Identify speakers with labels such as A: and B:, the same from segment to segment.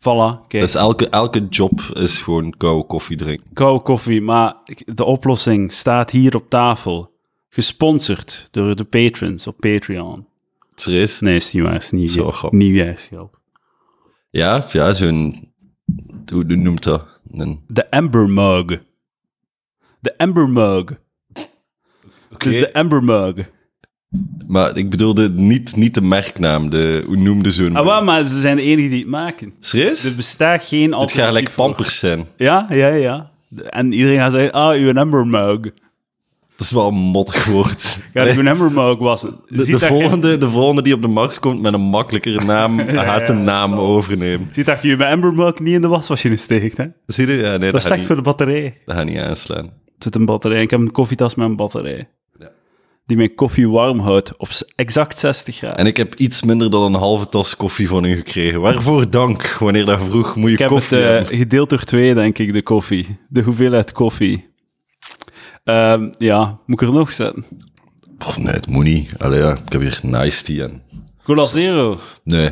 A: Voilà, kijk.
B: Dus elke, elke job is gewoon koude koffie drinken.
A: Koude koffie, maar ik- de oplossing staat hier op tafel. Gesponsord door de patrons op Patreon.
B: Serieus?
A: Nee, is niet waar. Is niet,
B: Zo, grap.
A: nieuwjaarsgrap.
B: Ja, ja zo'n... Hoe hoe noemt dat? Een-
A: De Amber Mug. De Amber Mug. Dus de Amber Mug.
B: Maar ik bedoelde niet, niet de merknaam. De, hoe noemde zo'n...
A: Ah, waar, maar ze zijn de enigen die het maken.
B: Serieus?
A: Er bestaat geen
B: het
A: alternatief.
B: gaat lekker
A: voor.
B: pampers zijn.
A: Ja, ja, ja. De- En iedereen gaat zeggen, ah, uw Amber Mug.
B: Dat is wel een mottig woord.
A: Ja,
B: Nee,
A: uw Amber Mug was het.
B: de,
A: Ziet
B: de,
A: dat je-
B: volgende, de volgende die op de markt komt met een makkelijkere naam, gaat de naam overnemen.
A: Ziet dat je je Amber Mug niet in de wasmachine steekt, hè?
B: Zie je? Ja, nee,
A: Dat
B: dat,
A: is
B: gaat
A: slecht
B: niet,
A: voor de batterij.
B: dat gaat niet aanslaan.
A: Er zit een batterij. Ik heb een koffietas met een batterij.
B: Ja.
A: Die mijn koffie warm houdt op s- exact 60 graden.
B: En ik heb iets minder dan een halve tas koffie van u gekregen. Waarvoor dank, wanneer dat vroeg, moet je
A: ik heb
B: koffie
A: het eh,
B: hebben.
A: gedeeld door twee, denk ik, de koffie. De hoeveelheid koffie. Ehm, ja, moet ik er nog zetten?
B: Pff, nee, het moet niet. Allee, ja, ik heb hier nice tea en...
A: Cola Zero.
B: Nee.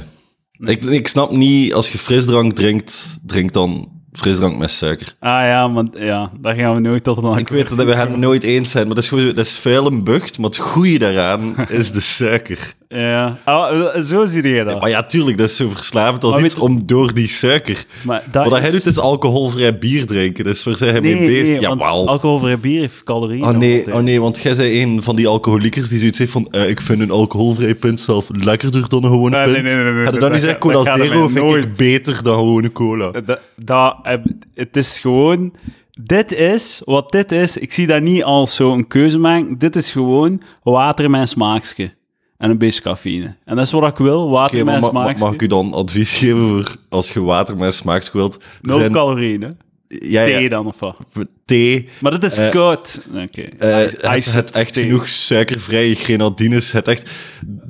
B: Ik, ik snap niet, als je frisdrank drinkt, drink dan frisdrank met suiker.
A: Ah ja, want ja, daar gaan we nooit tot een
B: Ik weet dat we het nooit eens zijn, maar dat is, gewoon, zo- dat is vuil en bucht, maar het goede daaraan is de suiker.
A: Ja. Ah, zo zie je dat.
B: Maar ja, tuurlijk, dat is zo verslavend als
A: Maar
B: iets
A: weet-
B: om door die suiker.
A: Maar dat
B: Wat hij
A: is-
B: doet is alcoholvrij bier drinken, dus waar zijn hij
A: Nee,
B: mee bezig?
A: nee,
B: ja,
A: want
B: wauw.
A: alcoholvrij bier heeft calorieën.
B: Oh nee,
A: altijd.
B: oh nee, want jij zei een van die alcoholiekers die zoiets heeft van eh, ik vind een alcoholvrij pint zelf lekkerder dan een gewone
A: Nee,
B: pint.
A: nee, nee, nee, nee,
B: Had
A: dat-
B: je dan nu
A: dat-
B: gezegd,
A: dat
B: cola
A: gaat er
B: zero
A: mij
B: vind ik
A: nooit.
B: beter dan gewone cola.
A: Dat, dat, eh, het is gewoon... Dit is wat dit is. Ik zie dat niet als zo'n keuze maken. Dit is gewoon water in mijn smaakje. En een beetje cafeïne. En dat is wat ik wil, water
B: Oké,
A: in
B: maar
A: mijn
B: ma- ma-
A: smaakje.
B: mag ik u dan advies geven voor als je water met smaak wilt? Er
A: Nul
B: zijn-
A: calorieën, hè?
B: ja, ja,
A: Thee dan, of wat?
B: thee,
A: Maar dat is
B: Eh,
A: koud. Oké.
B: eh,
A: Ice-
B: het,
A: iced
B: het echt
A: thee.
B: genoeg suikervrije grenadines, het echt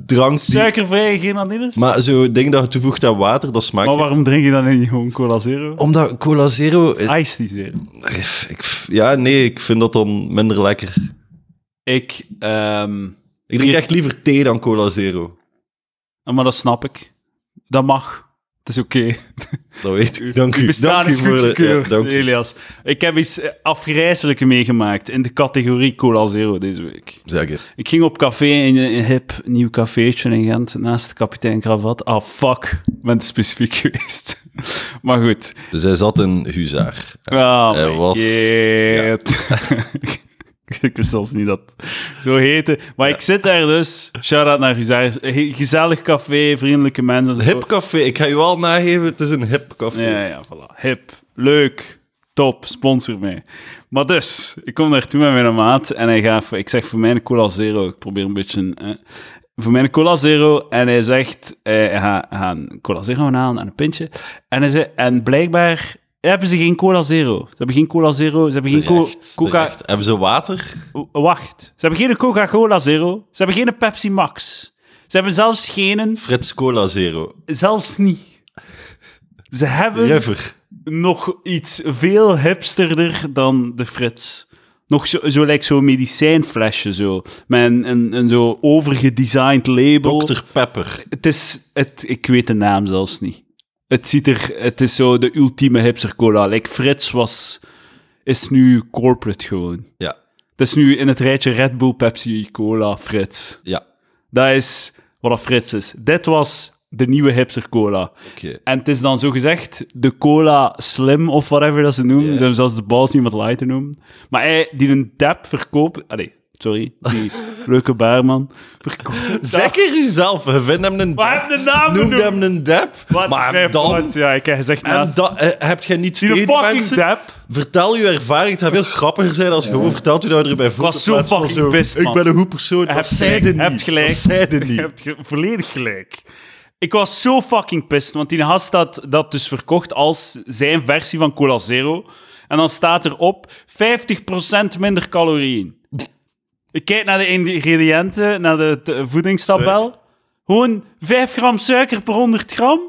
B: drank die...
A: Suikervrije grenadines? Maar,
B: Maar zo'n ding dat je toevoegt aan water, dat smaakt...
A: waarom drink je dan niet gewoon cola zero?
B: Omdat cola zero... Oh, is-
A: Ice die zero.
B: ik, ja, nee, ik vind dat dan minder lekker.
A: Ik... ehm,
B: Ik drink echt liever thee dan cola zero.
A: maar dat snap ik. Dat mag. Het is oké.
B: Dat weet ik. Dank
A: Uw
B: u.
A: bestaan
B: Dank u
A: is
B: voor de... ja,
A: goedgekeurd,
B: dank u.
A: Elias. Ik heb iets eh, afgrijzelijks meegemaakt in de categorie Cola Zero deze week.
B: Zeg het.
A: Ik ging op café in een hip nieuw cafeetje in Gent naast kapitein Kravat. Ah, fuck. Ik ben te specifiek geweest. maar goed.
B: Dus hij zat in Huzaar.
A: Oh,
B: Hij
A: my
B: was-
A: god. ik wist zelfs niet dat het zo heette. Maar ik zit daar dus. Shout-out naar Huzar. Gezellig café, vriendelijke mensen. zo.
B: Hip café. Ik ga je wel nageven, het is een hip café.
A: Ja, ja, voilà. Hip, leuk, top, sponsor mij. Maar dus, ik kom daartoe met mijn maat en hij gaf, ik zeg voor mij een cola zero. Ik probeer een beetje, een, eh, voor mij een cola zero. En hij zegt, eh, hij gaat hij gaat een cola zero halen en een pintje. En, hij zei, en blijkbaar hebben ze geen cola zero. Ze hebben geen cola zero, ze hebben geen co-
B: Terecht,
A: coca...
B: terecht. Hebben ze water?
A: O, Wacht, ze hebben geen Coca-Cola zero, ze hebben geen Pepsi Max. Ze hebben zelfs geen,
B: Frits Cola Zero.
A: zelfs niet. Ze hebben
B: River.
A: nog iets veel hipsterder dan de Frits. Nog zo, zo lijkt zo'n medicijnflesje zo. Met een, een, een zo overgedesigned label.
B: Dr. Pepper.
A: Het is, het, ik weet de naam zelfs niet. Het ziet er, het is zo de ultieme hipster cola. Like Frits was, is nu corporate gewoon.
B: Ja,
A: Het is nu in het rijtje Red Bull, Pepsi, Cola, Frits.
B: ja.
A: Dat is wat dat Frits is. Dit was de nieuwe hipster cola.
B: Oké.
A: En het is dan zo gezegd de cola slim of whatever dat ze noemen. Ze hebben zelfs de balls niet wat lighter noemen. Maar hij die een dap verkoopt... Allee, sorry. Die leuke baarman verkoopt...
B: Zeg er uzelf, we vinden hem een
A: Maar
B: dep.
A: heb de naam
B: Noem
A: genoemd.
B: hem een dep.
A: Wat
B: maar
A: schrijf
B: hem dan...
A: wat? Ja, ik heb gezegd
B: En
A: naast...
B: dan eh, heb jij niets
A: Die
B: tegen
A: een
B: die
A: fucking
B: mensen?
A: dap.
B: Vertel je ervaring. Het gaat veel grappiger zijn als je gewoon vertelt hoe dat erbij voelt.
A: was
B: in
A: zo
B: plaats van
A: fucking pissed,
B: Ik
A: man.
B: ben een goed persoon. Dat
A: hebt
B: zeiden
A: gelijk,
B: niet.
A: hebt gelijk.
B: Dat zeiden
A: Je
B: niet.
A: hebt ge- volledig gelijk. Ik was zo fucking pissed, want die gast had dat dus verkocht als zijn versie van Cola Zero. En dan staat erop 50% minder calorieën. Ik kijk naar de ingrediënten, naar de, de voedingstabel. Gewoon 5 gram suiker per 100 gram.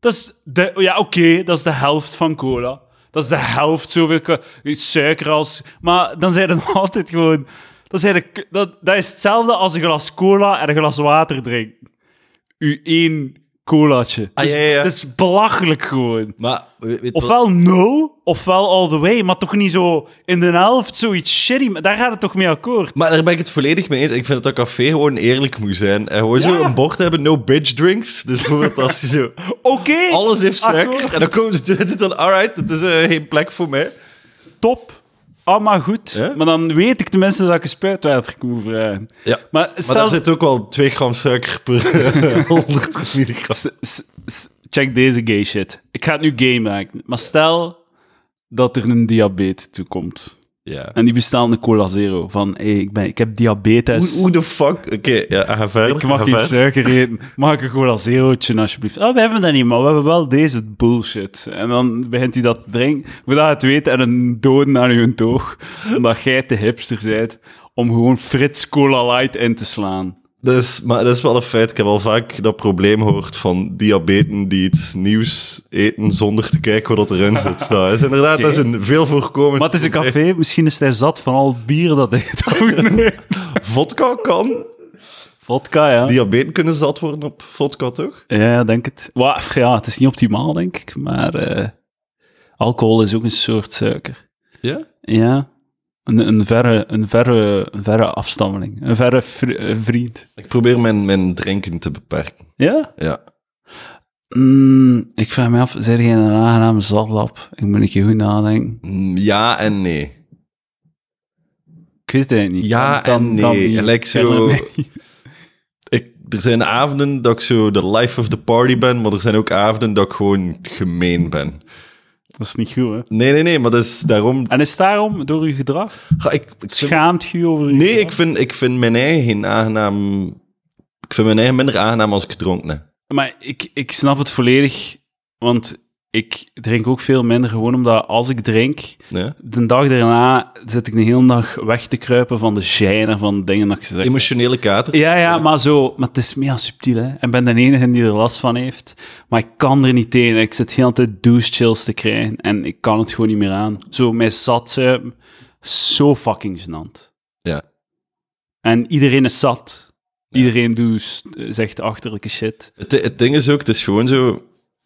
A: Dat is de, ja, oké, dat is de helft van cola. Dat is de helft zoveel ka- suiker als. Maar dan zijn er nog altijd gewoon. Dat, zijn de, k- dat, dat is hetzelfde als een glas cola en een glas water drinken. U één colaatje.
B: Ah,
A: Het is-
B: ja, ja, ja.
A: Het is belachelijk gewoon.
B: Maar weet, weet wat-
A: Ofwel nul, ofwel all the way, maar toch niet zo in de helft zoiets shitty. Maar Daar gaat het toch mee akkoord.
B: Maar daar ben ik het volledig mee eens. Ik vind dat dat café gewoon eerlijk moet zijn. En gewoon zo
A: Ja.
B: een bord hebben, no bitch drinks. Dus bijvoorbeeld als je zo...
A: Oké,
B: Alles heeft suiker.
A: Akkoord.
B: En dan komen ze dit dan, alright, dat is eh, geen plek voor mij.
A: top. Allemaal goed.
B: Ja?
A: Maar dan weet ik tenminste dat ik een spuitwater moet vragen.
B: Ja. Maar,
A: Maar stel...
B: daar zit ook wel 2 gram suiker per 100 milligram.
A: S- s- s- Check deze gay shit. Ik ga het nu gay maken. Maar stel dat er een diabetes toekomt.
B: Ja.
A: En die bestelde cola zero. Van, hé, ik, ben, ik heb
B: Hoe,
A: diabetes.
B: hoe de fuck? Oké, ja, ga verder.
A: ik mag eh,
B: ga
A: geen
B: verder.
A: suiker eten. Mag ik een cola zerootje, alsjeblieft? Oh, we hebben dat niet, maar we hebben wel deze bullshit. En dan begint hij dat te drinken. Voordat je het weet, en een dood naar je toog. Omdat jij te hipster bent om gewoon Frits Cola Light in te slaan.
B: Dat is, maar dat is wel een feit. Ik heb al vaak dat probleem gehoord van diabeten die iets nieuws eten zonder te kijken wat erin zit. Dat is inderdaad dat is een veel voorkomend
A: Maar het is een
B: probleem.
A: café, misschien is hij zat van al het bier dat hij gedronken heeft.
B: Vodka kan.
A: Vodka, ja.
B: Diabeten kunnen zat worden op vodka, toch?
A: Ja, denk het. Wa- Ja, het is niet optimaal, denk ik, maar eh, alcohol is ook een soort suiker.
B: Ja.
A: Ja, een, een, verre, een, verre, een verre afstammeling, een verre vri- eh, vriend.
B: Ik probeer mijn, mijn drinken te beperken.
A: Ja?
B: Ja.
A: Mm, ik vraag me af, zijn jij een aangename zatlap? Ik moet een keer goed nadenken.
B: Mm, Ja en nee.
A: Ik weet het eigenlijk niet.
B: Ja en nee.
A: die-
B: En like zo-
A: kennen we mij niet.
B: Ik, er zijn avonden dat ik zo de life of the party ben, maar er zijn ook avonden dat ik gewoon gemeen ben.
A: Dat is niet goed, hè?
B: Nee, nee, nee, maar dat is daarom...
A: En is daarom door uw gedrag?
B: Ga ik, ik
A: Schaamt je over uw
B: Nee,
A: gedrag?
B: ik vind, ik vind mijn eigen geen aangenaam. Ik vind mijn eigen minder aangenaam als ik gedronken heb.
A: Maar ik, ik snap het volledig, want ik drink ook veel minder gewoon omdat als ik drink,
B: Ja?
A: de dag daarna zit ik de hele dag weg te kruipen van de gijner van dingen dat ik zeg.
B: Emotionele katers.
A: Ja, ja, maar zo, maar het is meer subtiel, hè. En ik ben de enige die er last van heeft. Maar ik kan er niet tegen. Ik zit heel de tijd douche chills te krijgen en ik kan het gewoon niet meer aan. Zo, mij zat ze zo fucking gênant.
B: Ja.
A: En iedereen is zat. Iedereen doet, zegt achterlijke shit.
B: Het, het ding is ook, het is gewoon zo...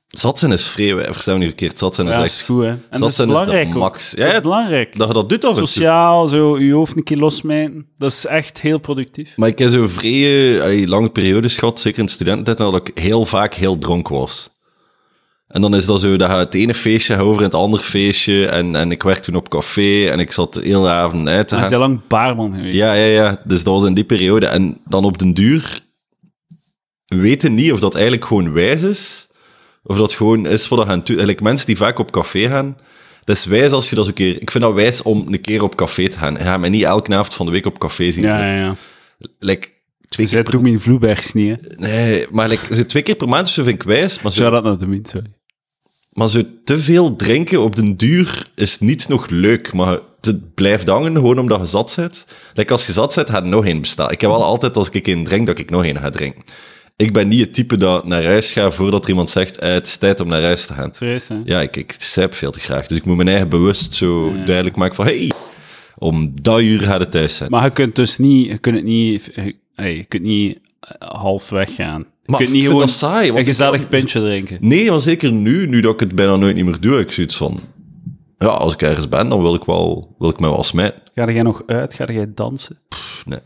B: Zat zijn is vreemd, verstaan me niet verkeerd. Zat zijn is
A: Ja, Dus dat
B: echt...
A: is goed, hè. En dat is
B: zijn is de
A: belangrijk ook.
B: max. Ja,
A: Dat is
B: ja.
A: belangrijk.
B: Dat je dat doet af en toe.
A: Sociaal, zo je hoofd een keer losmijten. Dat is echt heel productief.
B: Maar ik heb zo'n vrije, allee, lange periodes gehad, zeker in studententijd, dat ik heel vaak heel dronken was. En dan is dat zo, dat gaat het ene feestje over in het andere feestje. En, en ik werkte toen op café en ik zat de hele avond uit te
A: Hij
B: gaan.
A: is al lang baarman geweest.
B: Ja, ja, ja. Dus dat was in die periode. En dan op den duur weten niet of dat eigenlijk gewoon wijs is. Of dat gewoon is wat we gaan doen. Eigenlijk mensen die vaak op café gaan. Dat is wijs als je dat een keer... Ik vind dat wijs om een keer op café te gaan. Je gaat mij niet elke avond van de week op café zien
A: ja,
B: zitten.
A: ja. ja.
B: Like, twee keer
A: Zij
B: per,
A: doet mijn vloebergs niet, hè.
B: nee, maar like, zo twee keer per maand zo vind ik wijs. Maar zo,
A: Shout-out naar de wind, sorry.
B: maar zo te veel drinken op den duur is niet nog leuk. Maar het blijft hangen gewoon omdat je zat zit. Like, als je zat zit, gaat er nog één bestaan. Ik heb wel altijd, als ik één drink, dat ik nog één ga drinken. Ik ben niet het type dat naar huis gaat voordat er iemand zegt, eh, het is tijd om naar huis te gaan.
A: Serieus, hè?
B: Ja, ik, ik sijp veel te graag. Dus ik moet mijn eigen bewust zo duidelijk maken van, hey, om dat uur gaat het thuis zijn.
A: Maar je kunt dus niet... Je kunt het niet... Je, hey, je kunt niet eh, half weggaan. Je
B: Maar
A: kunt niet
B: ik vind
A: gewoon
B: dat saai, want
A: een
B: ik
A: gezellig
B: kan-
A: pintje drinken.
B: Nee, maar zeker nu, nu dat ik het bijna nooit niet meer doe, heb ik zoiets van, ja, als ik ergens ben, dan wil ik, wel, wil ik me wel smijten.
A: Ga jij nog uit? Ga jij dansen?
B: Pff, Nee.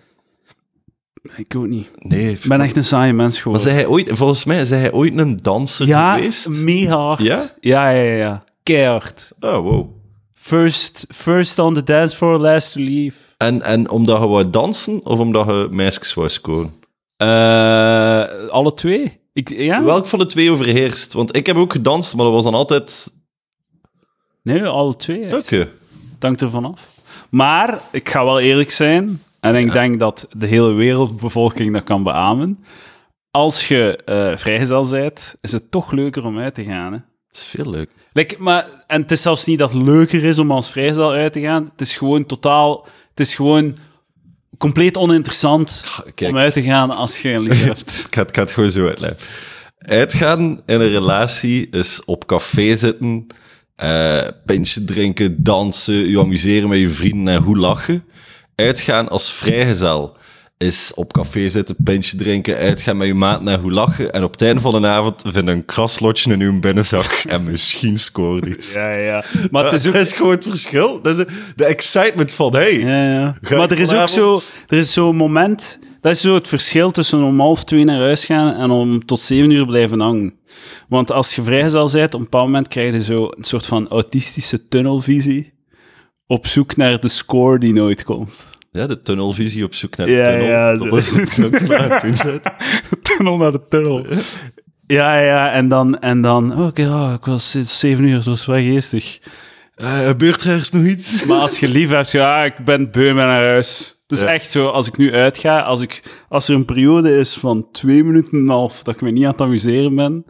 A: Ik ook niet.
B: Nee,
A: Ik ben echt een saaie mens
B: Maar
A: geworden.
B: zei hij ooit, volgens mij, zei hij ooit een danser
A: Ja,
B: geweest?
A: mega hard.
B: Ja?
A: Ja, ja, ja. ja. Keihard.
B: Oh, wow.
A: First, first on the dance floor, last to leave.
B: En, en omdat je wou dansen of omdat je meisjes wou scoren?
A: Eh, alle twee. Ik, ja?
B: Welk van de twee overheerst? Want ik heb ook gedanst, maar dat was dan altijd...
A: Nee, alle twee. echt.
B: Oké.
A: Het hangt ervan af. Maar ik ga wel eerlijk zijn. En ik denk dat de hele wereldbevolking dat kan beamen. Als je eh, vrijgezel bent, is het toch leuker om uit te gaan. Hè?
B: Dat is veel leuk.
A: Like, maar, en het is zelfs niet dat het leuker is om als vrijgezel uit te gaan. Het is gewoon totaal... Het is gewoon compleet oninteressant
B: kijk.
A: om uit te gaan als je een lief hebt.
B: Ik ga, het- ik ga het gewoon zo uitleggen. Uitgaan in een relatie is op café zitten, eh pintje drinken, dansen, je amuseren met je vrienden en hoe lachen. Uitgaan als vrijgezel is op café zitten, pintje drinken, uitgaan met je maat naar hoe lachen. En op het einde van de avond vinden een kraslotje in uw binnenzak. en misschien scoort iets.
A: Ja, ja. Maar het is ook...
B: Dat is gewoon het verschil. Dat is de, de excitement van, hey,
A: Ja, ja.
B: Ga
A: Maar
B: ik
A: er is ook zo,
B: vanavond-
A: er is zo'n moment. Dat is zo het verschil tussen om half twee naar huis gaan en om tot zeven uur blijven hangen. Want als je vrijgezel bent, op een bepaald moment krijg je zo een soort van autistische tunnelvisie. Op zoek naar de score die nooit komt.
B: Ja, de tunnelvisie op zoek naar
A: Ja,
B: de tunnel.
A: ja,
B: dat
A: zo.
B: is het ook waar het in zit.
A: tunnel naar de tunnel. Ja, ja, en dan, en dan oké, oh, ik was sinds zeven uur, het was wel geestig.
B: Eh, gebeurt er ergens nog iets?
A: Maar als je lief hebt, ja, ik ben beu met naar huis. Het is
B: Ja.
A: echt zo, als ik nu uitga, als, ik, als er een periode is van twee minuten en een half dat ik me niet aan het amuseren ben,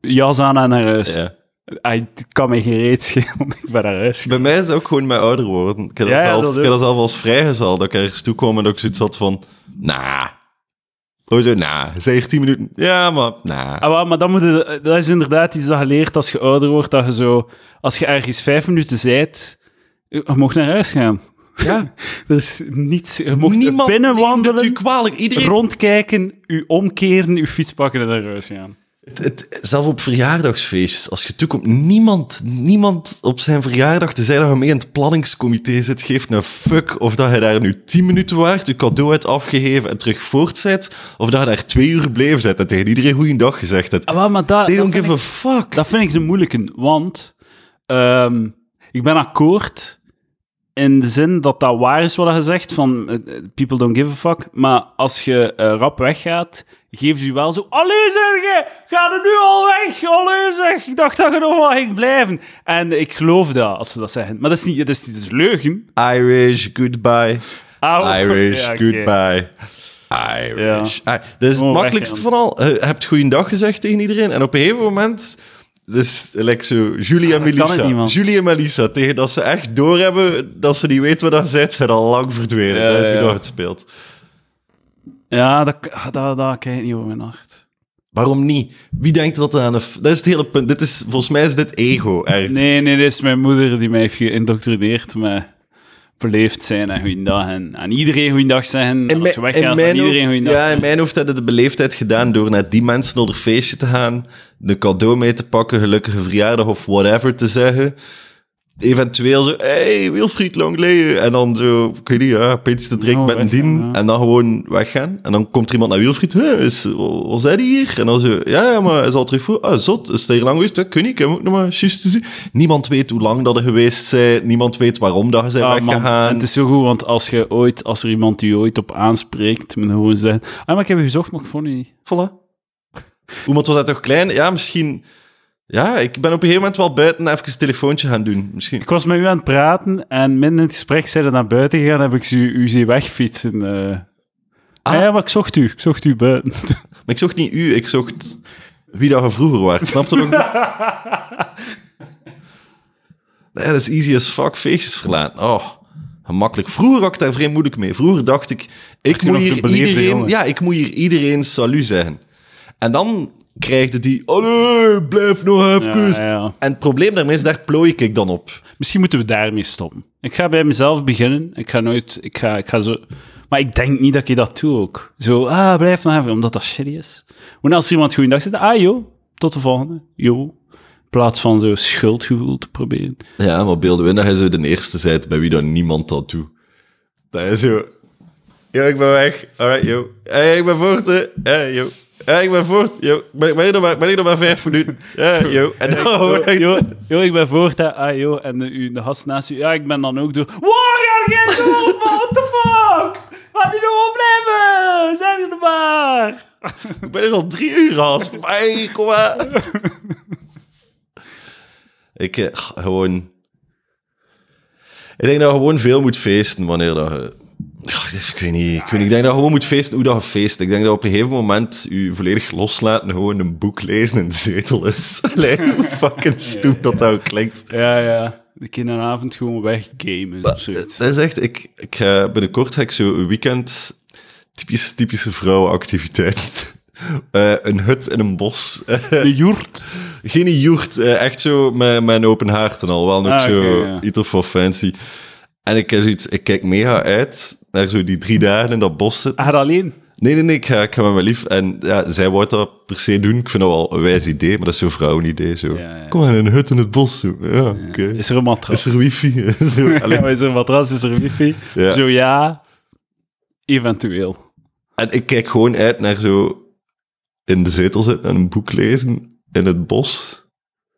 A: jas aan en naar huis.
B: Ja.
A: Ai, het kan me geen reet schelen, ik ben naar huis gegaan.
B: Bij mij is het ook gewoon mijn ouder worden. Ik heb
A: Ja,
B: dat,
A: ja,
B: zelf,
A: dat
B: ik heb
A: ook.
B: dat zelf als vrijgezel, dat ik ergens toe kwam en dat ik zoiets had van, nah. Oh, zo, nah. Zeg tien minuten. Ja, maar, nah.
A: Ah, wel, maar dan moet je- dat is inderdaad iets dat je leert als je ouder wordt, dat je zo, als je ergens vijf minuten zijt, je mocht naar huis gaan.
B: Ja.
A: Er is niets, je mocht
B: Niemand neemt het u
A: binnenwandelen,
B: kwalijk. Iedereen
A: rondkijken, u omkeren, uw fiets pakken en naar huis gaan.
B: Het, het- zelf op verjaardagsfeestjes, als je toekomt, niemand, niemand op zijn verjaardag, tenzij dat je mee in het planningscomité zit, geeft een fuck of dat je daar nu 10 minuten waart, je cadeau hebt afgegeven en terug voort bent, of dat je daar twee uur bleef zit en tegen iedereen goeiedag gezegd hebt.
A: Ah, wel, maar dat,
B: They
A: dat
B: don't
A: vind
B: give a fuck.
A: Dat vind ik de moeilijke, want ehm, ik ben akkoord in de zin dat dat waar is wat je zegt, van eh, eh, people don't give a fuck, maar als je eh, rap weggaat, geven ze je wel zo, allee zeg je, ga er nu al weg, allee zeg, ik dacht dat je nog wel ging blijven. En ik geloof dat, als ze dat zeggen. Maar dat is niet, dat is, niet, dat is leugen.
B: Irish, goodbye.
A: Au.
B: Irish,
A: Oh, Ja, oké.
B: goodbye. Irish. Ah, dat is het
A: Oh,
B: makkelijkste
A: weggaan.
B: van al. Je hebt goeiedag gezegd tegen iedereen. En op een gegeven moment... Dus, like zo, Julie en
A: Ah, dat kan het
B: Melissa.
A: niet, man.
B: Julie en Melissa, tegen dat ze echt doorhebben dat ze niet weten wat dat zijn, zijn al lang verdwenen.
A: Ja,
B: dat is hoe
A: ja.
B: dat het speelt.
A: Ja, dat, dat, dat kijk ik niet over mijn nacht.
B: Waarom niet? Wie denkt dat dat aan een... f- Dat is het hele punt. Dit is, volgens mij is dit ego ergens.
A: Nee, nee, dit is mijn moeder die mij heeft geïndoctrineerd met beleefd zijn en goeiedag. En aan iedereen goeiedag zeggen. En
B: In
A: als je
B: mijn- in
A: weggaat, aan
B: mijn
A: iedereen
B: hoofd-
A: goeiedag
B: Ja, in
A: zeggen.
B: mijn hoofd hadden de beleefdheid gedaan door naar die mensen onder feestje te gaan, de cadeau mee te pakken, gelukkige verjaardag of whatever te zeggen. Eventueel zo, hey, Wilfried Longley. En dan zo, ik weet niet, ja, pintjes te drinken
A: Oh,
B: met een
A: weggaan,
B: dien.
A: ja.
B: En dan gewoon weggaan. En dan komt er iemand naar Wilfried. Huh, is, was hij hier? En dan zo, ja, ja, maar hij zal terug voor. Ah, zot, is hij hier lang geweest? Ja, Ik weet niet, ik heb hem ook nog maar juist te zien. Niemand weet hoe lang dat er geweest zijn. Niemand weet waarom dat ze zijn
A: Ah, man,
B: weggegaan.
A: en het is zo goed, want als, je ooit, als er iemand je ooit op aanspreekt, moet je gewoon zeggen... Ah, maar ik heb je gezocht, maar ik vond je niet.
B: Voilà. Iemand was dat toch klein? Ja, misschien. Ja, ik ben op een gegeven moment wel buiten even een telefoontje gaan doen. Misschien.
A: Ik was met u aan het praten en midden in het gesprek zijn we naar buiten gegaan en heb ik ze, u zien wegfietsen. eh. Ah. ja, maar ik zocht u. Ik zocht u buiten.
B: Maar ik zocht niet u, ik zocht wie dat je vroeger was. Snap je nog? nee, dat is easy as fuck, feestjes verlaten. Oh, gemakkelijk. Vroeger had ik daar vrij moeilijk mee. Vroeger dacht ik, ik
A: je
B: moet,
A: nog de
B: hier
A: beleefde
B: iedereen,
A: jongen?
B: ja, ik moet hier iedereen salut zeggen. En dan krijg je die, allee, blijf nog even.
A: Ja, ja.
B: En het probleem daarmee is, daar plooi ik dan op.
A: Misschien moeten we daarmee stoppen. Ik ga bij mezelf beginnen. Ik ga nooit. Ik ga, ik ga zo. Maar ik denk niet dat ik dat doe ook. Zo, ah, blijf nog even, omdat dat shitty is. Maar als er iemand goeiedag zegt, ah joh, tot de volgende. Joh. In plaats van zo schuldgevoel te proberen.
B: Ja, maar beelden we in dat hij zo de eerste zijt bij wie dan niemand dat doet. Dat is zo... Yo, ik ben weg. Alright, yo. Hey, ik ben voort, hè. Hey, yo. Hey, ik ben voort. Yo. Ben ik, ben ik, nog, maar, ben ik nog maar vijf minuten? Ja, yo. En dan hoor ik...
A: Joh, joh, ik ben voor hè. ah joh. En de, u- de gast naast u, ja, ik ben dan ook door. Waar ga jij door, man? What the fuck? Laat die nou opblijven! Zijn er maar!
B: Ik ben er al drie uur haast. Hey, kom maar. ik eh, gewoon... Ik denk dat je gewoon veel moet feesten wanneer dat je... Ach, Ik weet niet. Ik, weet niet. ik denk dat je gewoon moet feesten hoe dat je feest. Ik denk dat op een gegeven moment je volledig loslaten gewoon een boek lezen in de zetel is. Lijkt me fucking stoep dat dat ook klinkt.
A: Ja, ja. De kinderavond gewoon weggamen of zoiets.
B: Dat is echt... Ik, ik ga binnenkort ga ik zo een weekend... Typisch, typische vrouwenactiviteit. Eh, een hut in een bos.
A: De joert.
B: Geen joert, eh, echt zo met mijn open haard en al. Wel nog
A: Ah,
B: zo
A: oké, ja.
B: iets of wat fancy. En ik, heb zoiets, ik kijk mega uit naar zo die drie dagen in dat bos zitten.
A: Hij gaat alleen.
B: Nee, nee, nee, ik ga, ik ga met mijn lief. En ja, zij wou dat per se doen. Ik vind dat wel een wijs idee, maar dat is zo'n vrouwenidee. Zo.
A: Ja, ja.
B: Kom maar in een hut in het bos. Zo. Ja, oké.
A: Is er een matras?
B: Is er wifi? zo, allee.
A: Ja, is er een matras? Is er wifi?
B: Ja.
A: Zo ja, eventueel.
B: En ik kijk gewoon uit naar zo in de zetel zitten en een boek lezen in het bos.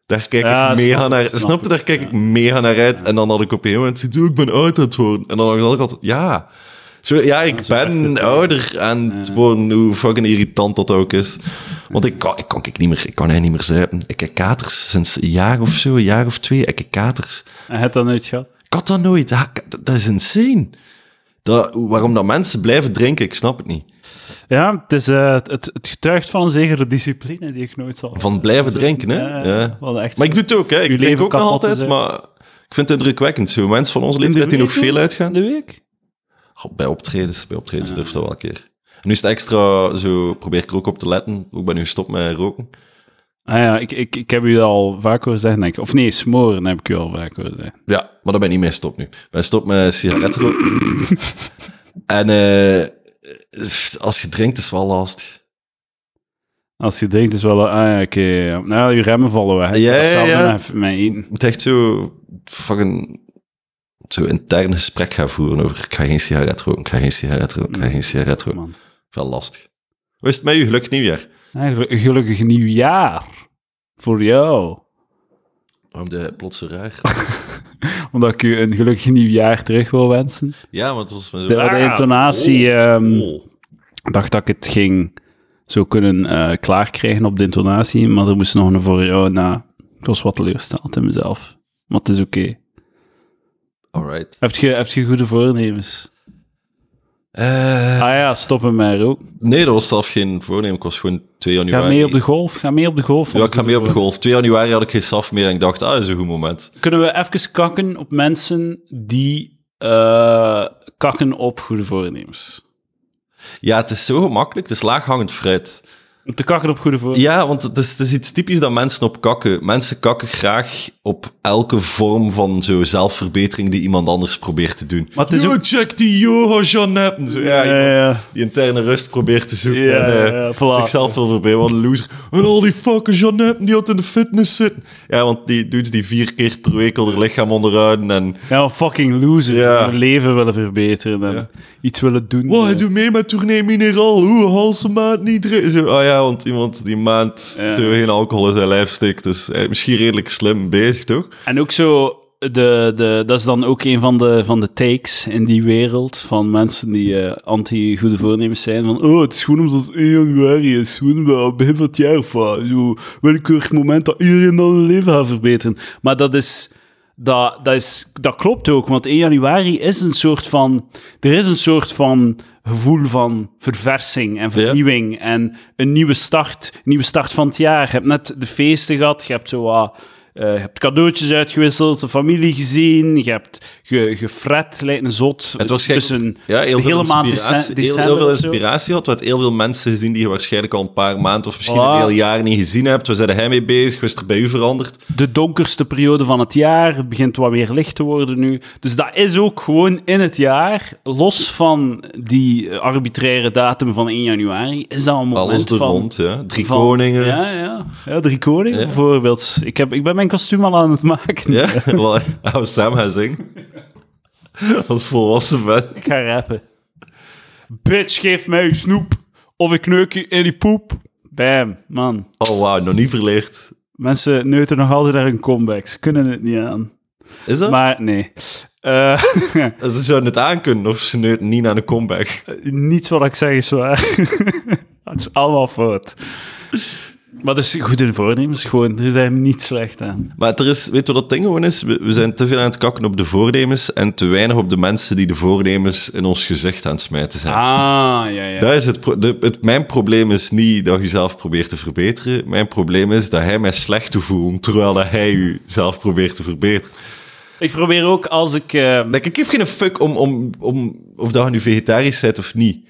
B: Daar kijk
A: Ja,
B: ik mega
A: snap ik,
B: naar
A: snap
B: Snap je?
A: ik,
B: Daar kijk
A: ja.
B: ik mega naar uit. En dan had ik op een moment zoiets, oh, ik ben oud aan het worden. En dan had ik altijd, ja. Zo, ja, ik
A: zo werkt
B: ben
A: het, ja.
B: ouder. En het gewoon hoe fucking irritant dat ook is. Want ik kan, ik kan, ik niet, meer, ik kan hij niet meer zuipen. Ik heb katers sinds een jaar of zo, een jaar of twee. Ik heb katers.
A: En hij had dat nooit gehad.
B: Ik had dat nooit. Ja, ik- Dat, dat is insane. Dat, waarom dat mensen blijven drinken, ik snap het niet.
A: Ja, het, is, eh, het, het getuigt van een zekere discipline die ik nooit zal.
B: Van blijven drinken, hè?
A: Ja,
B: Ja.
A: wel echt.
B: Maar ik doe het ook, hè? Ik
A: Uw
B: drink
A: leven
B: ook nog
A: kapot te
B: altijd,
A: zijn.
B: maar ik vind het indrukwekkend. Zo mensen van onze leeftijd die nog veel uitgaan.
A: De week?
B: Goh, bij optredens, bij optredens durf dat wel een keer. En nu is het extra, zo probeer ik er ook op te letten. Ook ben nu gestopt met roken.
A: Ah ja, ik, ik, ik heb u dat al vaak horen zeggen, denk ik. Of nee, smoren heb ik u al vaak horen zeggen.
B: Ja, maar daar ben ik niet mee gestopt nu. Ik ben gestopt met sigaretten roken. en eh, als je drinkt is het wel lastig.
A: Als je denkt, is wel... een- Ah ja, oké. ja. Nou, je remmen vallen weg.
B: Ja, ja,
A: Hetzelfde
B: ja.
A: met- met eten.
B: Je moet echt zo fucking zo intern gesprek gaan voeren over ik ga geen sigaret roken, ik ga geen sigaret roken, ik ga geen sigaret roken.
A: Man.
B: Wel lastig. Hoe is het met u? Gelukkig nieuwjaar.
A: Ja, gelu- gelukkig nieuwjaar. Voor jou.
B: Waarom de plotse raar?
A: Omdat ik u een gelukkig nieuwjaar terug wil wensen.
B: ja, want het was maar zo...
A: De, de intonatie... ehm,
B: Oh.
A: dacht dat ik het ging zo kunnen eh, klaarkrijgen op de intonatie, maar er moest nog een voor jou na. Ik was wat teleurgesteld in mezelf. Maar het is oké.
B: Alright.
A: Heb je, heb je goede voornemens?
B: Eh,
A: Ah ja, stoppen met roken.
B: nee, dat was zelf geen voornemen. Ik was gewoon 2 januari...
A: Ga mee op de golf. Ga mee op de golf.
B: Ja, ik ga mee op de golf. 2 januari had ik geen saf meer en ik dacht, ah, dat is een goed moment.
A: Kunnen we even kakken op mensen die eh, kakken op goede voornemens?
B: Ja, het is zo gemakkelijk. Het is laaghangend fruit.
A: Om te kakken op goede voornemens.
B: Ja, want het is, het is iets typisch dat mensen op kakken. Mensen kakken graag op elke vorm van zo zelfverbetering die iemand anders probeert te doen.
A: Maar het is
B: Yo,
A: ook-
B: check die yoga, Jeannette. Zo, ja, iemand
A: ja.
B: die interne rust probeert te zoeken.
A: Ja,
B: en, eh,
A: ja, ja, voilà.
B: zichzelf wil verbeteren. Wat een loser. En al die fucking Jeannette die had in de fitness zitten. Ja, want die dudes die vier keer per week al haar lichaam onderhouden. En
A: Ja, fucking losers
B: Ja.
A: die hun leven willen verbeteren en iets willen doen.
B: Wow,
A: eh.
B: hij doet mee met Tournee Mineral. Hoe halse maand niet drinken. Zo, ah ja, want iemand die maand
A: Ja.
B: zo geen alcohol in zijn lijf steekt. Dus hij is misschien redelijk slim bezig, toch?
A: En ook zo, de, de, dat is dan ook een van de, van de takes in die wereld van mensen die eh, anti-goede voornemens zijn. Van, oh, het is gewoon omdat het 1 januari is. Gewoon wel begin van het jaar. of wat. Zo willekeurig moment dat iedereen dan hun leven gaat verbeteren. Maar dat is... Dat, dat, is, dat klopt ook, want 1 januari is een soort van... Er is een soort van gevoel van verversing en vernieuwing en een nieuwe start. Een nieuwe start van het jaar. Je hebt net de feesten gehad, je hebt zo wat... eh, je hebt cadeautjes uitgewisseld, de familie gezien, je hebt ge, gefret, lijkt een zot.
B: Het was gek-
A: tussen
B: Ja, heel
A: de
B: veel,
A: hele maand
B: inspiratie,
A: december.
B: heel, heel veel
A: of zo.
B: inspiratie had. We hadden heel veel mensen gezien die je waarschijnlijk al een paar maanden of misschien
A: Voilà.
B: een heel jaar niet gezien hebt. We zijn er hij mee bezig. We is er bij u veranderd.
A: de donkerste periode van het jaar. Het begint wat meer licht te worden nu. Dus dat is ook gewoon in het jaar, los van die eh, arbitraire datum van 1 januari, is dat een moment
B: Alles er
A: van...
B: rond, ja. Drie
A: van-
B: koningen. Ja,
A: Ja, ja. ja, drie koningen
B: Ja.
A: bijvoorbeeld. Ik, heb, ik ben mijn kostuum al aan het maken.
B: wel, gaan we samen gaan zingen. Als volwassen ben.
A: Ik ga rappen. Bitch, geef mij uw snoep. Of ik neuk je in die poep. Bam, man.
B: Oh, wauw, nog niet verleerd.
A: Mensen neuten nog altijd naar hun comebacks. Ze kunnen het niet aan.
B: Is dat?
A: Maar nee. Eh,
B: Ze zouden het aankunnen of ze neuten niet naar een comeback.
A: niets wat ik zeg is waar. Het is allemaal fout. Maar dat is goed in voornemens, gewoon. Er is daar niet slecht aan.
B: Maar er is, weet je wat dat ding gewoon is? We, we zijn te veel aan het kakken op de voornemens en te weinig op de mensen die de voornemens in ons gezicht aan het smijten zijn.
A: Ah, ja, ja.
B: Dat is het, pro- de- het, mijn probleem is niet dat je zelf probeert te verbeteren. Mijn probleem is dat hij mij slecht te voelen terwijl dat hij u zelf probeert te verbeteren.
A: Ik probeer ook als ik... eh,
B: Like, ik geef geen fuck om, om, om of dat je nu vegetarisch bent of niet.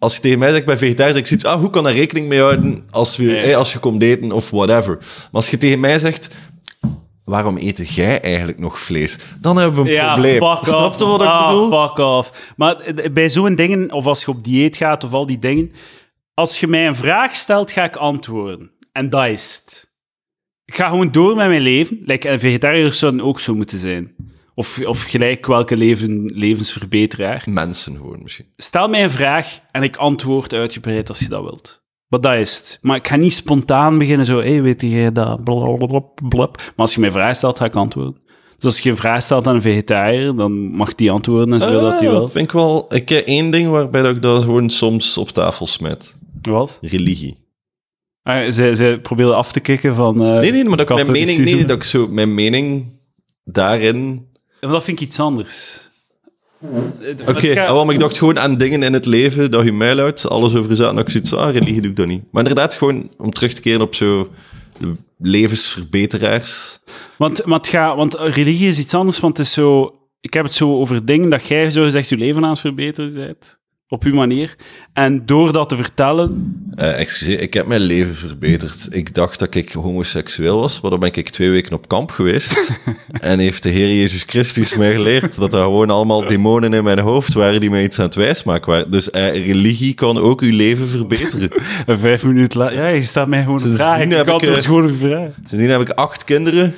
B: Als je tegen mij zegt, ik ben vegetarisch, zeg ik zoiets, ah, hoe kan daar rekening mee houden als, we,
A: Ja.
B: eh, als je komt eten of whatever. Maar als je tegen mij zegt, waarom eet jij eigenlijk nog vlees? Dan hebben we een
A: Ja,
B: probleem.
A: fuck
B: Snap
A: off.
B: je wat ik
A: Ah,
B: bedoel?
A: fuck off. Maar eh, bij zo'n dingen, of als je op dieet gaat of al die dingen, als je mij een vraag stelt, ga ik antwoorden. En dat is het. Ik ga gewoon door met mijn leven. Like, en vegetariërs zouden ook zo moeten zijn. Of, of gelijk welke leven, levensverbeteraar.
B: Mensen gewoon misschien.
A: Stel mij een vraag en ik antwoord uitgebreid als je dat wilt. Maar dat is het. Maar ik ga niet spontaan beginnen zo, hé, hey, weet je dat, blablabla. Maar als je mij een vraag stelt, ga ik antwoorden. Dus als je een vraag stelt aan een vegetariër, dan mag die antwoorden en ze wil dat
B: Ah,
A: die wil.
B: vind ik wel... Ik ken één ding waarbij dat ik dat gewoon soms op tafel smet.
A: Wat?
B: Religie.
A: Ah, ze, ze probeerde af te kicken van... eh,
B: Nee, nee, maar dat ik mijn mening...
A: katholicisme.
B: Nee, dat ik zo mijn mening daarin...
A: Maar dat vind ik iets anders. Oké,
B: Oké, ah, wel, maar ik dacht gewoon aan dingen in het leven dat je mijl uit, alles over is aan, dat ik zoiets ah, religie doe ik dat niet. Maar inderdaad, gewoon om terug te keren op zo levensverbeteraars.
A: Want, maar het gaat- want religie is iets anders, want het is zo... Ik heb het zo over dingen dat jij zogezegd je leven aan het verbeteren bent. Op uw manier. En door dat te vertellen...
B: Eh, excuseer, ik heb mijn leven verbeterd. Ik dacht dat ik homoseksueel was, maar dan ben ik twee weken op kamp geweest. en heeft de Heer Jezus Christus mij geleerd dat er gewoon allemaal demonen in mijn hoofd waren die mij iets aan het wijsmaken waren. Dus eh, religie kan ook uw leven verbeteren.
A: En vijf minuten later... Ja, je staat mij gewoon een
B: Sindsdien
A: vraag. Ik
B: heb ik,
A: antwoord
B: eh,
A: gewoon een vraag.
B: Sindsdien heb ik acht kinderen.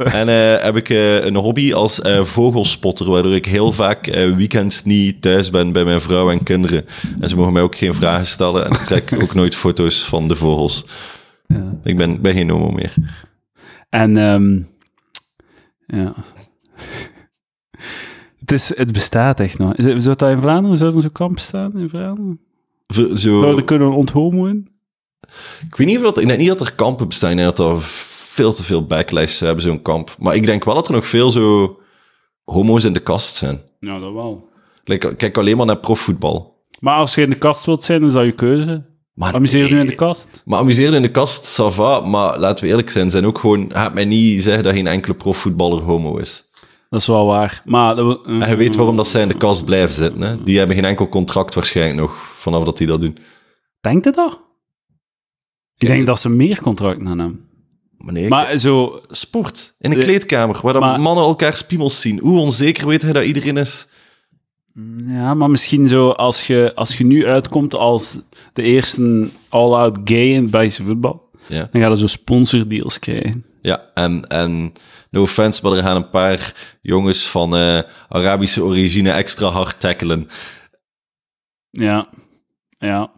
B: En eh, heb ik eh, een hobby als eh, vogelspotter, waardoor ik heel vaak eh, weekends niet thuis ben bij mijn vrouw en kinderen. En ze mogen mij ook geen vragen stellen en ik trek ook nooit foto's van de vogels. Ik ben, ben geen homo meer.
A: En... ehm, ja... Het, is, het bestaat echt nog. Is het- Zou dat in Vlaanderen, zou er zo'n kamp staan in
B: Oh.
A: Vlaanderen?
B: V- Zo,
A: Zou er kunnen onthomo in?
B: ik weet niet of dat, ik denk niet dat er kampen bestaan en dat er veel te veel backlights hebben, zo'n kamp. Maar ik denk wel dat er nog veel zo homo's in de kast zijn.
A: Nou, dat wel.
B: Like, ik kijk alleen maar naar profvoetbal.
A: Maar als je in de kast wilt zijn, dan is dat je keuze.
B: Maar
A: Amuseer je nu in de
B: nee.
A: kast.
B: Maar amuseren in de kast, ça va, maar laten we eerlijk zijn, zijn ook gewoon, gaat mij niet zeggen dat geen enkele profvoetballer homo is.
A: Dat is wel waar. Maar dat eh. wil-
B: En je weet waarom dat zij in de kast blijven zitten, hè? Die hebben geen enkel contract waarschijnlijk nog, vanaf dat die dat doen.
A: denkt het dat? Ik denk dat ze meer contracten aan hebben.
B: Maar nee,
A: Maar zo,
B: sport, in een
A: Eh,
B: kleedkamer, waar dat
A: maar-
B: mannen elkaar piemels zien. Hoe onzeker weet hij dat iedereen is?
A: ja, maar misschien zo als je, als je nu uitkomt als de eerste all-out gay in het Belgische voetbal,
B: Ja.
A: dan ga je zo sponsordeals krijgen.
B: Ja, en, en no offense, maar er gaan een paar jongens van eh, Arabische origine extra hard tackelen.
A: Ja, ja.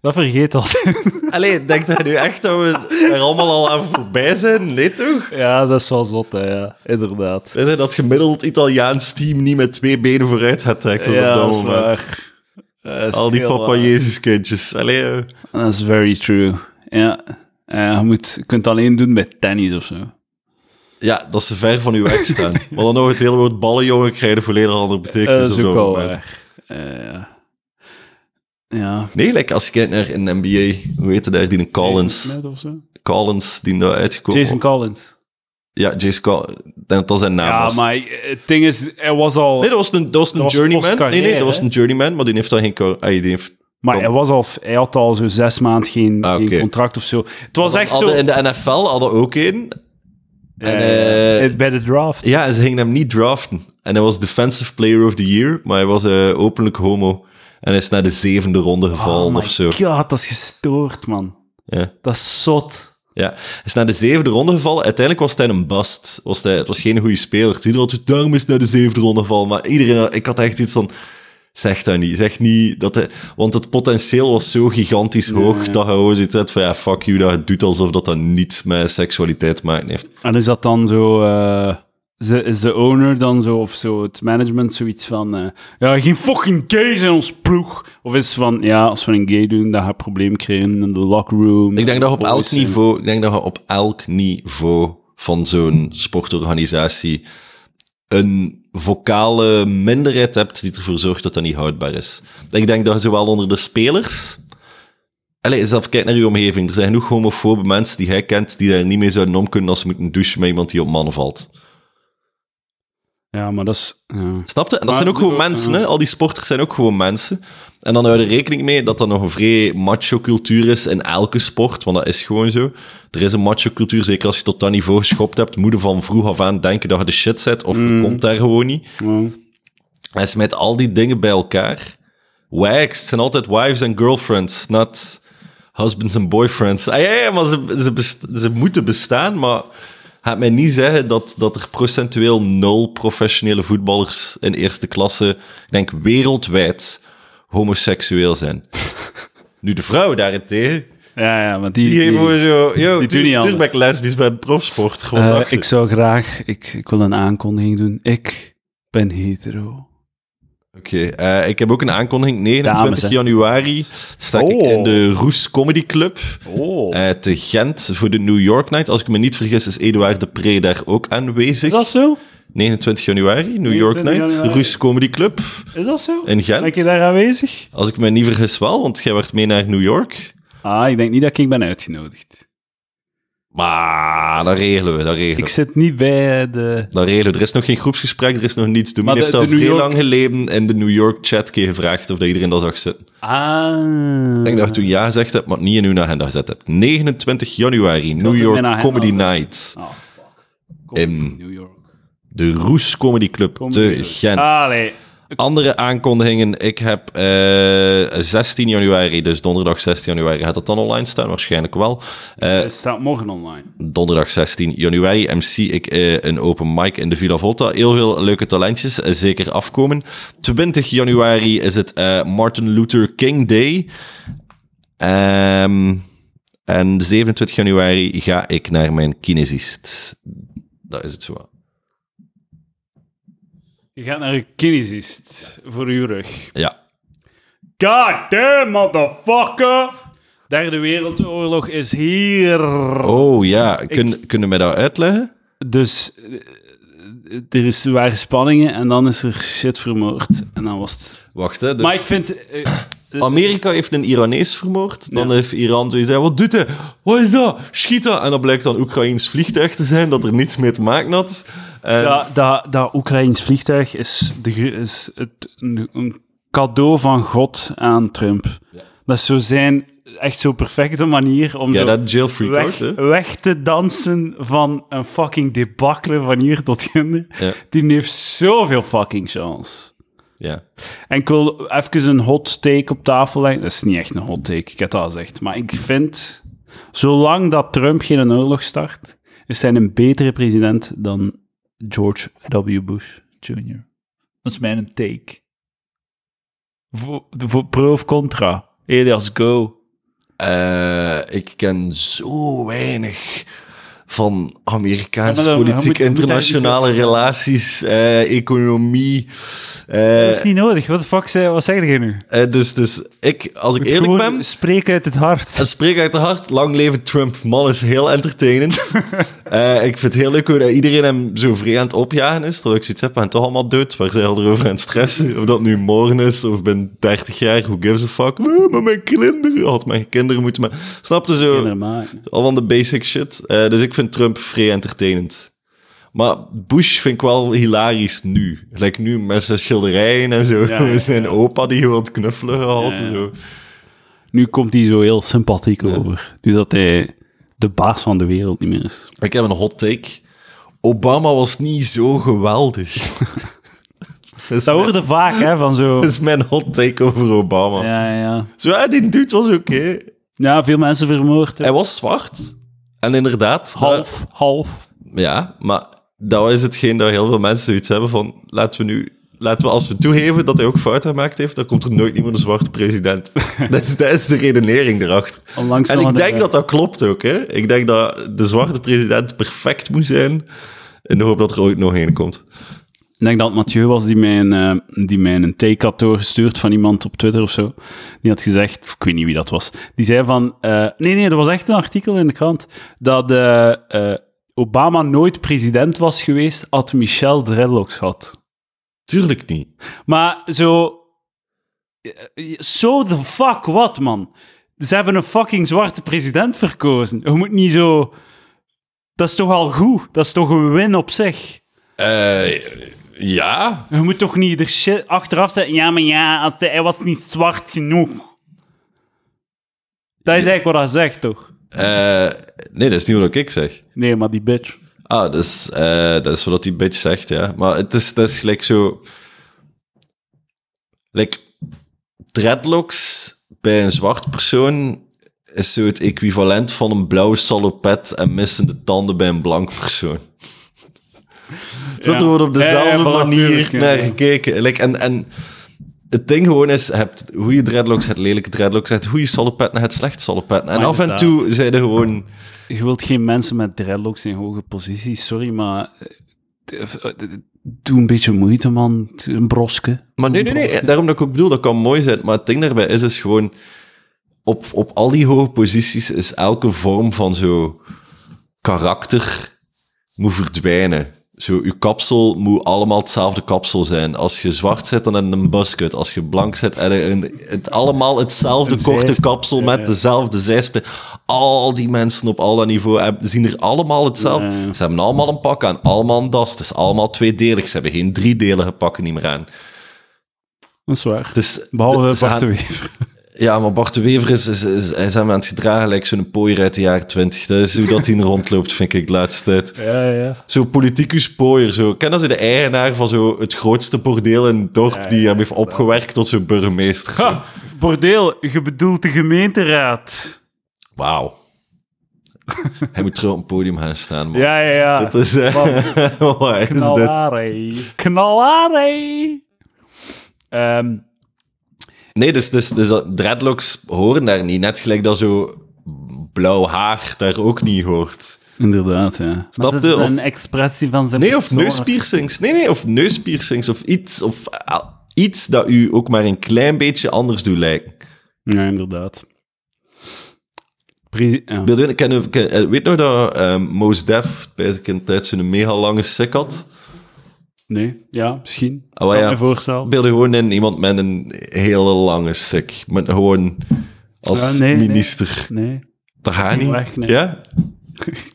A: Dat vergeet altijd.
B: Allee, denkt hij nu echt dat we er allemaal al aan voorbij zijn? Nee toch?
A: ja, dat is wel zot, hè, ja. Inderdaad.
B: Weet je, dat gemiddeld Italiaans team niet met twee benen vooruit gaat tackelen
A: Ja,
B: op dat
A: dat is
B: moment.
A: waar. Dat is
B: Al die
A: heel
B: papa
A: waar.
B: Jezus kindjes. Allee, eh.
A: Dat is very true. Ja. Eh, je, moet, je kunt het alleen doen bij tennis of zo.
B: ja, dat ze ver van uw weg staan. maar dan nog het hele woord ballenjongen krijgen een volledig andere
A: Eh,
B: betekenis
A: dat is
B: op
A: ook
B: dat
A: wel
B: moment.
A: waar. Eh, ja.
B: Nee, like, als je kijkt naar in de NBA, hoe heette daar die een Collins? Oh.
A: Jason Smith of zo?
B: Collins, die daar uitgekomen
A: Jason Collins.
B: Ja, Jason Collins. Ik denk dat dat zijn naam
A: Ja,
B: was.
A: maar eh, het ding is, hij was al,
B: Nee, dat was een, dat was een
A: was
B: journeyman. Nee, nee,
A: postcarrière,
B: dat was
A: hè?
B: een journeyman, maar die heeft daar geen... car- Ah, die heeft
A: maar hij, was al, hij had al zo zes maanden geen,
B: Ah,
A: geen
B: oké.
A: contract of zo. Het was echt zo.
B: hadden in de NFL hadden ook één. En, eh,
A: eh, bij de draft.
B: Ja, en ze gingen hem niet draften. En hij was Defensive Player of the Year, maar hij was eh, openlijk homo. En hij is naar de zevende ronde gevallen
A: Oh my
B: of zo.
A: God, dat is gestoord, man.
B: Ja.
A: Dat is zot.
B: ja. Hij is naar de zevende ronde gevallen. Uiteindelijk was hij een bust. Was hij, het was geen goede speler. Iedereen had gezegd, daarom is hij naar de zevende ronde gevallen. Maar iedereen, ik had echt iets van... Zeg dat niet. Zeg niet dat hij... Want het potentieel was zo gigantisch hoog dat hij gewoon zoiets had van... Ja, fuck you, dat het doet alsof dat dat niets met seksualiteit te maken heeft.
A: En is dat dan zo... eh, ze- is de owner dan zo, of zo, het management zoiets van... eh, ja, geen fucking gays in ons ploeg. Of is het van, ja, als we een gay doen, dan ga je problemen krijgen in de locker room.
B: Ik denk dat je op elk
A: Boys en-
B: niveau, ik denk dat je op elk niveau van zo'n sportorganisatie een vocale minderheid hebt die ervoor zorgt dat dat niet houdbaar is. Ik denk dat zowel onder de spelers. Allee, zelf kijk naar je omgeving. Er zijn genoeg homofobe mensen die jij kent die daar niet mee zouden om kunnen als ze moeten douchen met iemand die op mannen valt.
A: Ja, maar dat is... Ja.
B: Snapte? En dat
A: Maar
B: zijn ook gewoon
A: ik bedoel, eh,
B: mensen,
A: ja.
B: hè? Al die sporters zijn ook gewoon mensen. En dan hou je er rekening mee dat dat nog een vrij macho-cultuur is in elke sport, want dat is gewoon zo. Er is een macho-cultuur, zeker als je tot dat niveau geschopt hebt, moet je van vroeg af aan denken dat je de shit zet, of je komt daar gewoon niet.
A: Mm. Ja.
B: Hij smijt al die dingen bij elkaar. Wags, het zijn altijd wives en girlfriends, not husbands en boyfriends. Ah, ja, ja, maar ze, ze, best- ze moeten bestaan, maar gaat mij niet zeggen dat, dat er procentueel nul professionele voetballers in eerste klasse, ik denk wereldwijd, homoseksueel zijn. nu de vrouwen daarentegen,
A: Ja, ja, maar die...
B: die
A: die-
B: geven gewoon zo,
A: die doen
B: yo, tuur-
A: niet
B: tuurlijk
A: anders.
B: ben ik lesbisch bij een profsport. Gewoon
A: Eh,
B: dacht
A: ik
B: ik.
A: zou graag... Ik, ik wil een aankondiging doen. Ik ben hetero.
B: Oké, eh, ik heb ook een aankondiging. 29
A: Dames, hè.
B: januari sta ik
A: Oh.
B: in de Roes Comedy Club.
A: Oh.
B: Eh, te Gent voor de New York Night. Als ik me niet vergis, is Eduard de Pre daar ook aanwezig.
A: Is dat zo?
B: 29 januari, New York
A: 29
B: Night,
A: januari.
B: Roes Comedy Club
A: Is dat zo?
B: in
A: Ben
B: Gent.
A: je daar aanwezig?
B: Als ik me niet vergis wel, want jij werd mee naar New York.
A: Ah, ik denk niet dat ik ben uitgenodigd.
B: Maar dat regelen we, dat regelen
A: Ik
B: we.
A: zit niet bij eh, de...
B: Dat regelen we. Er is nog geen groepsgesprek, er is nog niets. Domien
A: Maar de-
B: heeft al
A: de New
B: vrij
A: York-
B: lang geleden in de New York chat keer gevraagd of dat iedereen dat zag zitten.
A: Ah.
B: Ik denk dat je toen ja gezegd hebt, maar het niet in uw agenda gezet hebt. 29 januari,
A: het
B: New
A: in mijn
B: York
A: agenda
B: Comedy
A: zetten.
B: Night.
A: Oh, fuck. Kom,
B: Ehm,
A: New York.
B: De Roes Comedy Club
A: Kom, New
B: te
A: York.
B: Gent.
A: Allee.
B: Andere aankondigingen. Ik heb eh, 16 januari, dus donderdag 16 januari, gaat dat dan online staan? Waarschijnlijk wel. Eh,
A: Het staat morgen online.
B: donderdag 16 januari MC ik eh, een open mic in de Villa Volta. Heel veel leuke talentjes, eh, zeker afkomen. 20 januari is het eh, Martin Luther King Day. Ehm, en 27 januari ga ik naar mijn kinesist. Dat is het zo.
A: Je gaat naar een kinesist voor uw rug.
B: Ja.
A: God damn, motherfucker! Derde Wereldoorlog is hier.
B: Oh ja, Kun, kunnen we dat uitleggen?
A: Dus eh, eh, er is, waren spanningen en dan is er shit vermoord. En dan was het...
B: Wacht, hè. Dus...
A: Maar ik vind... eh, eh,
B: Amerika heeft een Iranees vermoord. Dan heeft Iran zoiets zei, wat doet hij? Wat is dat? Schiet dat? En dan blijkt dan Oekraïns vliegtuig te zijn, dat er niets mee te maken had. En
A: dat, dat, dat Oekraïns vliegtuig is, de, gro- is het, een, een cadeau van God aan Trump. Dat is zo zijn echt zo perfecte manier om
B: ja,
A: zo
B: dat jail free card,
A: weg,
B: hè?
A: weg te dansen van een fucking debacle van hier tot ginder.
B: Ja.
A: Die heeft zoveel fucking chance.
B: Ja.
A: En ik wil even een hot take op tafel leggen. Dat is niet echt een hot take, ik heb dat al gezegd. Maar ik vind, zolang dat Trump geen oorlog start, is hij een betere president dan George W. Bush Jr. Dat is mijn take. Voor, voor pro of contra? Elias, go.
B: Eh, ik ken zo weinig van
A: Ja,
B: Amerikaanse
A: maar dan-
B: politiek,
A: moet- moet
B: internationale relaties, eh, economie. eh,
A: Dat is niet nodig. Wat de fuck zei, wat zeg je nu?
B: eh, dus, dus ik, als ik eerlijk ben...
A: Spreek uit het hart.
B: Een spreek uit de hart. Lang leven Trump. Man is heel entertainend. Eh, ik vind het heel leuk hoe dat iedereen hem zo vrij aan het opjagen is. Terwijl ik zoiets heb, en toch allemaal dood. Waar zijn al erover aan het stressen? Of dat nu morgen is, of binnen 30 jaar. Who gives a fuck? Eh, Maar mijn kinderen. Had mijn kinderen moeten... Maar... Snap je zo? Al van de basic shit. Eh, dus ik vind Trump vrij entertainend. Maar Bush vind ik wel hilarisch nu. Like nu met zijn schilderijen en zo.
A: Ja, ja,
B: zijn opa die gewoon het knuffelen gehad.
A: Ja, ja.
B: Zo.
A: Nu komt hij zo heel sympathiek over. Nu dat hij de baas van de wereld niet meer is.
B: Ik heb een hot take. Obama was niet zo geweldig. dat,
A: Dat
B: is mijn,
A: hoorde vaak, hè, van zo...
B: dat is mijn hot take over Obama.
A: Ja, ja.
B: Zo, ja, die dude was oké.
A: Ja, veel mensen vermoord. hè.
B: Hij was zwart. En inderdaad... dat-
A: Half, half.
B: ja, maar dat is hetgeen dat heel veel mensen zoiets hebben van... Laten we nu... Laten we, als we toegeven dat hij ook fouten gemaakt heeft, dan komt er nooit iemand een zwarte president. dat, is, dat is de redenering erachter.
A: Onlangs
B: En
A: nog
B: ik
A: een-
B: denk dat dat klopt ook. Hè? Ik denk dat de zwarte president perfect moet zijn. In de hoop dat er ooit nog een komt.
A: Ik denk dat het Mathieu was die mij, een, eh, die mij een take had doorgestuurd van iemand op Twitter of zo. Die had gezegd, ik weet niet wie dat was. Die zei van, eh, nee, nee, er was echt een artikel in de krant dat eh, eh, Obama nooit president was geweest had Michel dreadlocks had.
B: Tuurlijk niet.
A: Maar zo... So the fuck what, man? Ze hebben een fucking zwarte president verkozen. Je moet niet zo... Dat is toch al goed? Dat is toch een win op zich?
B: Eh,
C: Ja,
A: Je moet toch niet ieder shit achteraf zetten. Ja, maar ja, als hij, hij was niet zwart genoeg. Dat is eigenlijk wat hij zegt, toch?
B: Eh, nee, dat is niet wat ik zeg.
A: Nee, maar die bitch.
B: Ah, dat is, eh, dat is wat die bitch zegt, ja. Maar het is, dat is gelijk zo... Like, dreadlocks bij een zwart persoon is zo het equivalent van een blauwe salopet en missende tanden bij een blank persoon. Dus
A: Ja.
B: dat wordt op
A: Ja, ja,
B: dezelfde
A: voilà,
B: manier
A: tuurlijk, ja,
B: naar
A: ja.
B: gekeken. Like, en, en het ding gewoon is, hebt goede dreadlocks, het lelijke dreadlocks, het goede salopetten, het slechte salopetten. En
A: Maar
B: af en
A: inderdaad.
B: toe zijn er gewoon...
A: Je wilt geen mensen met dreadlocks in hoge posities, sorry, maar... eh, eh, eh, Doe een beetje moeite, man. Het is Een broske.
B: Maar nee, nee, nee. Daarom dat ik ook bedoel, dat kan mooi zijn. Maar het ding daarbij is, is gewoon... Op, op al die hoge posities is elke vorm van zo... Karakter moet verdwijnen. Zo, uw kapsel moet allemaal hetzelfde kapsel zijn. Als je zwart zit, dan heb je een buskut. Als je blank zit, heb je een- het, allemaal hetzelfde korte
A: zij-
B: kapsel met dezelfde zijspin. Al die mensen op al dat niveau hebben- zien er allemaal hetzelfde.
A: Ja.
B: Ze hebben allemaal een pak aan, allemaal een das. Het is allemaal tweedelig. Ze hebben geen driedelige pakken niet meer aan.
A: Dat is waar.
B: Het is,
A: Behalve
B: Dus ze
A: Bart de
B: gaan-
A: Wever.
B: Ja, maar Bart de Wever is, is, is, hij is hem aan het gedragen, lijkt zo'n pooier uit de jaren 20. Dat is hoe dat hij rondloopt, vind ik, de laatste tijd.
A: Ja, ja.
B: Zo'n politicus pooier, zo. Ken dat zo de eigenaar van zo het grootste bordeel in het dorp, die hem heeft opgewerkt tot zo'n burgemeester. zo.
A: Bordeel, je bedoelt de gemeenteraad.
B: Wauw. hij moet terug op een podium gaan staan, man.
A: Ja, ja, ja.
B: Dat is... eh, waar is dit?
A: Knallare. Ehm,
B: Nee, dus, dus, dus dat, dreadlocks horen daar niet. Net gelijk dat zo blauw haar daar ook niet hoort.
A: inderdaad, ja.
B: Snap
A: Maar dat
B: je?
A: is
B: Of-
A: een expressie van zijn
B: Nee, of
A: persoon.
B: neuspiercings. Nee, nee, of neuspiercings. Of iets, of eh, iets dat u ook maar een klein beetje anders doet lijken.
A: Ja, inderdaad. Pre- ja.
B: Beeld in, ken- ken- eh, weet nog dat ehm Mos Def bij een kind tijd zo'n mega lange sik had?
A: Nee, ja, misschien.
B: Ah, wel,
A: Kan
B: ja.
A: me voorstel.
B: Beeld je gewoon in iemand met een hele lange sik. Met gewoon als
A: Ja, nee, nee.
B: minister.
A: Nee.
B: Dat gaat niet.
A: Weg, nee.
B: Ja?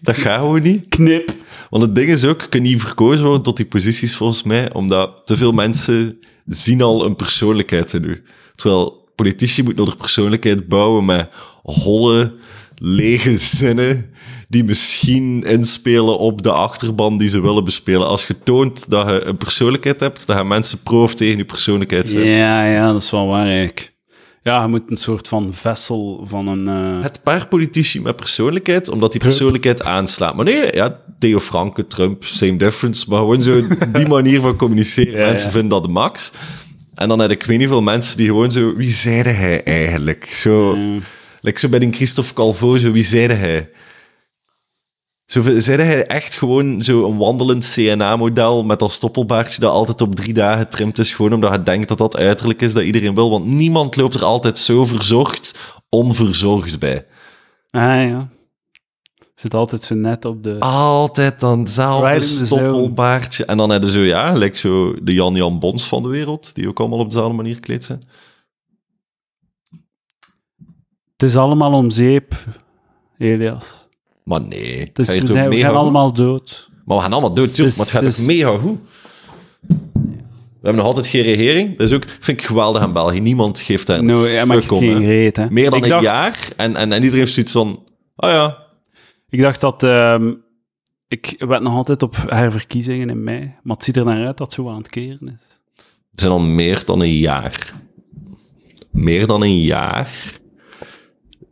B: Dat gaat gewoon niet.
A: Knip.
B: Want het ding is ook, je kunt niet verkozen worden tot die posities volgens mij, omdat te veel mensen zien al een persoonlijkheid in u. Terwijl politici moeten nog een persoonlijkheid bouwen met holle, lege zinnen die misschien inspelen op de achterban die ze willen bespelen. Als je toont dat je een persoonlijkheid hebt, dan gaan mensen pro of tegen je persoonlijkheid zijn.
A: Ja, ja, dat is wel waar eigenlijk. Ja, je moet een soort van vessel van een... eh,
B: Het paar politici met persoonlijkheid, omdat die persoonlijkheid aanslaat. Maar nee, ja, Theo Franke, Trump, same difference. Maar gewoon zo die manier van communiceren.
A: Ja,
B: mensen
A: ja.
B: vinden dat de max. En dan heb ik weet niet veel mensen die gewoon zo... Wie zeide hij eigenlijk? Zo,
A: Hmm.
B: like zo bij een Christophe Calvo, zo wie zeide hij? Zo, zeide hij echt gewoon zo'n wandelend CNA-model met dat stoppelbaardje dat altijd op drie dagen trimd is, gewoon omdat hij denkt dat dat uiterlijk is dat iedereen wil, want niemand loopt er altijd zo verzorgd, onverzorgd bij.
A: Ah, ja. Zit altijd zo net op de...
B: Altijd dan hetzelfde
A: Right in the
B: stoppelbaardje. En dan hebben ze zo, ja, lijkt zo de Jan-Jan Bons van de wereld, die ook allemaal op dezelfde manier gekleed zijn.
A: Het is allemaal om zeep, Elias.
B: Maar nee, het
A: Dus
B: gaat
A: we,
B: toch
A: zijn, we
B: mega
A: gaan
B: goed?
A: allemaal dood.
B: Maar we gaan allemaal dood,
A: Dus-
B: tuurlijk. maar het gaat
A: dus-
B: ook mega goed. We hebben nog altijd geen regering. Dat is ook, vind ik geweldig aan België. Niemand geeft daar een
A: Nou, ja, maar
B: fuck om,
A: geen
B: hè.
A: reet, hè.
B: Meer dan
A: ik
B: een
A: dacht,
B: jaar. En, en, en iedereen heeft zoiets van... Ah ja.
A: Ik dacht dat... ehm, ik werd nog altijd op herverkiezingen in mei. Maar het ziet er naar uit dat het zo aan het keren is.
B: Het zijn al meer dan een jaar. Meer dan een jaar